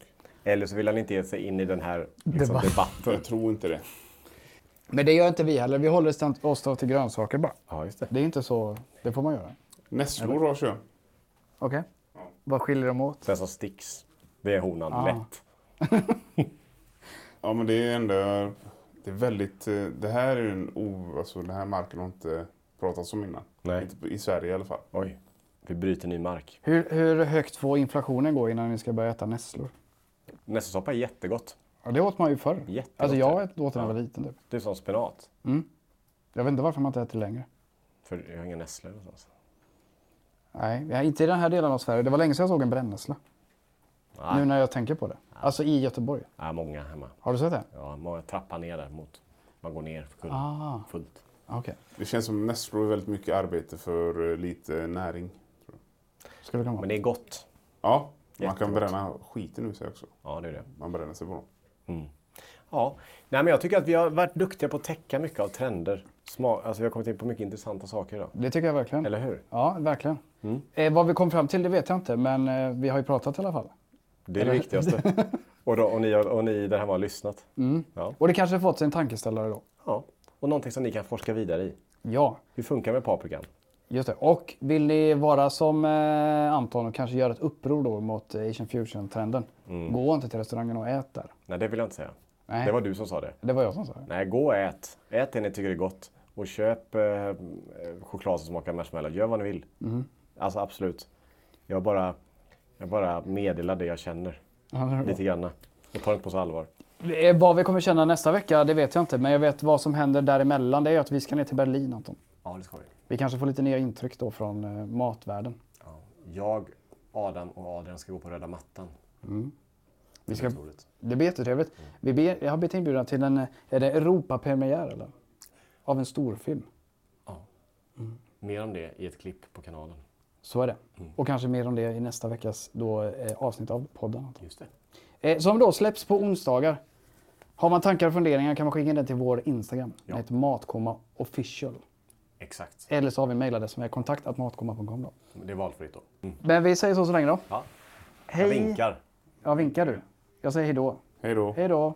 [SPEAKER 1] Eller så vill han inte ge sig in i den här liksom,
[SPEAKER 2] Debatt.
[SPEAKER 1] debatten.
[SPEAKER 3] Jag tror inte det.
[SPEAKER 2] Men det gör inte vi heller. Vi håller stämt oss då till grönsaker bara.
[SPEAKER 1] Ja, just det.
[SPEAKER 2] Det är inte så... Det får man göra.
[SPEAKER 3] Nässlor har kön.
[SPEAKER 2] Okej. Vad skiljer de åt?
[SPEAKER 1] Den som sticks, det är honan.
[SPEAKER 2] Ah.
[SPEAKER 1] Lätt.
[SPEAKER 3] Ja men det är ändå, det är väldigt, eh, det här är ju en o, alltså den här marken har inte pratats om innan.
[SPEAKER 1] Nej.
[SPEAKER 3] Inte i Sverige i alla fall.
[SPEAKER 1] Oj, vi bryter ny mark.
[SPEAKER 2] Hur, hur högt får inflationen gå innan ni ska börja äta nässlor?
[SPEAKER 1] Nässelsoppa är jättegott.
[SPEAKER 2] Ja, det åt man ju förr.
[SPEAKER 1] Jättegott,
[SPEAKER 2] Alltså
[SPEAKER 1] ja.
[SPEAKER 2] jag åt den när jag var liten. Typ.
[SPEAKER 1] Det är som spenat.
[SPEAKER 2] Jag vet inte varför man inte äter längre.
[SPEAKER 1] För jag har inga nässlor någonstans.
[SPEAKER 2] Nej, ja, inte i den här delen av Sverige. Det var länge sedan jag såg en brännässla.
[SPEAKER 1] Nej.
[SPEAKER 2] Nu när jag tänker på det. Alltså i Göteborg.
[SPEAKER 1] Ja, Äh, många hemma.
[SPEAKER 2] Har du sett det?
[SPEAKER 1] Ja, många trappar ner där mot. Man går ner för kullen.
[SPEAKER 2] Ah.
[SPEAKER 1] Fullt.
[SPEAKER 2] Okej.
[SPEAKER 3] Det känns som nässlor är väldigt mycket arbete för eh, lite näring.
[SPEAKER 2] Ska det kunna
[SPEAKER 1] Men
[SPEAKER 2] vara.
[SPEAKER 1] det är gott.
[SPEAKER 3] Ja, man kan
[SPEAKER 1] Jättegott.
[SPEAKER 3] bränna skiten ur sig också.
[SPEAKER 1] Ja, det är det.
[SPEAKER 3] Man bränner sig på dem.
[SPEAKER 1] Ja, Nej, men jag tycker att vi har varit duktiga på att täcka mycket av trender. Sma- alltså, vi har kommit in på mycket intressanta saker idag.
[SPEAKER 2] Det tycker jag verkligen.
[SPEAKER 1] Eller hur? Mm.
[SPEAKER 2] Ja, verkligen. Eh, vad vi kom fram till det vet jag inte, men eh, vi har ju pratat i alla fall.
[SPEAKER 1] Det är det viktigaste. Och, då, och, ni, har- och ni där hemma har lyssnat.
[SPEAKER 2] Mm.
[SPEAKER 1] Ja.
[SPEAKER 2] Och det kanske har fått sig en tankeställare då.
[SPEAKER 1] ja. Och någonting som ni kan forska vidare i.
[SPEAKER 2] Ja,
[SPEAKER 1] Hur funkar det med paprikan?
[SPEAKER 2] just det. Och vill ni vara som eh, Anton och kanske göra ett uppror då mot eh, Asian Fusion-trenden.
[SPEAKER 1] Mm.
[SPEAKER 2] Gå inte till restaurangen och ät där.
[SPEAKER 1] Nej, det vill jag inte säga.
[SPEAKER 2] Nej.
[SPEAKER 1] Det var du som sa det.
[SPEAKER 2] Det var jag som sa det.
[SPEAKER 1] Nej, gå och ät. Ät det ni tycker är gott. Och köp eh, eh, choklad som smakar marshmallow. Gör vad ni vill.
[SPEAKER 2] Mm.
[SPEAKER 1] Alltså absolut. Jag bara, jag bara meddelar det jag känner.
[SPEAKER 2] Ja, det är bra.
[SPEAKER 1] Lite granna. Och tar inte på så allvar.
[SPEAKER 2] Eh, Vad vi kommer känna nästa vecka, det vet jag inte. Men jag vet vad som händer däremellan. Det är ju att vi ska ner till Berlin, Anton.
[SPEAKER 1] Ja, det ska vi.
[SPEAKER 2] Vi kanske får lite nya intryck då från eh, matvärlden.
[SPEAKER 1] Ja. Jag, Adam och Adrian ska gå på röda mattan.
[SPEAKER 2] Vi ska...
[SPEAKER 1] roligt.
[SPEAKER 2] Det blir jättetrevligt. Vi be... Jag har blivit inbjuden till en eh, är det Europapremiär eller? av en storfilm.
[SPEAKER 1] Mer om det i ett klipp på kanalen.
[SPEAKER 2] Så är det. Och kanske mer om det i nästa veckas då, eh, avsnitt av podden. Anton.
[SPEAKER 1] Just det.
[SPEAKER 2] Eh, som då släpps på onsdagar. Har man tankar och funderingar kan man skicka in det till vår Instagram. Den heter Matkomma official.
[SPEAKER 1] Exakt.
[SPEAKER 2] Eller så har vi mejladress som är kontaktmatkomma.com. Då.
[SPEAKER 1] Det är valfritt då. Mm.
[SPEAKER 2] Men vi säger så så länge då.
[SPEAKER 1] Ja. Jag
[SPEAKER 2] Hej!
[SPEAKER 1] vinkar.
[SPEAKER 2] Ja, vinkar du. Jag säger hej då.
[SPEAKER 3] Hej då.
[SPEAKER 2] Hej då!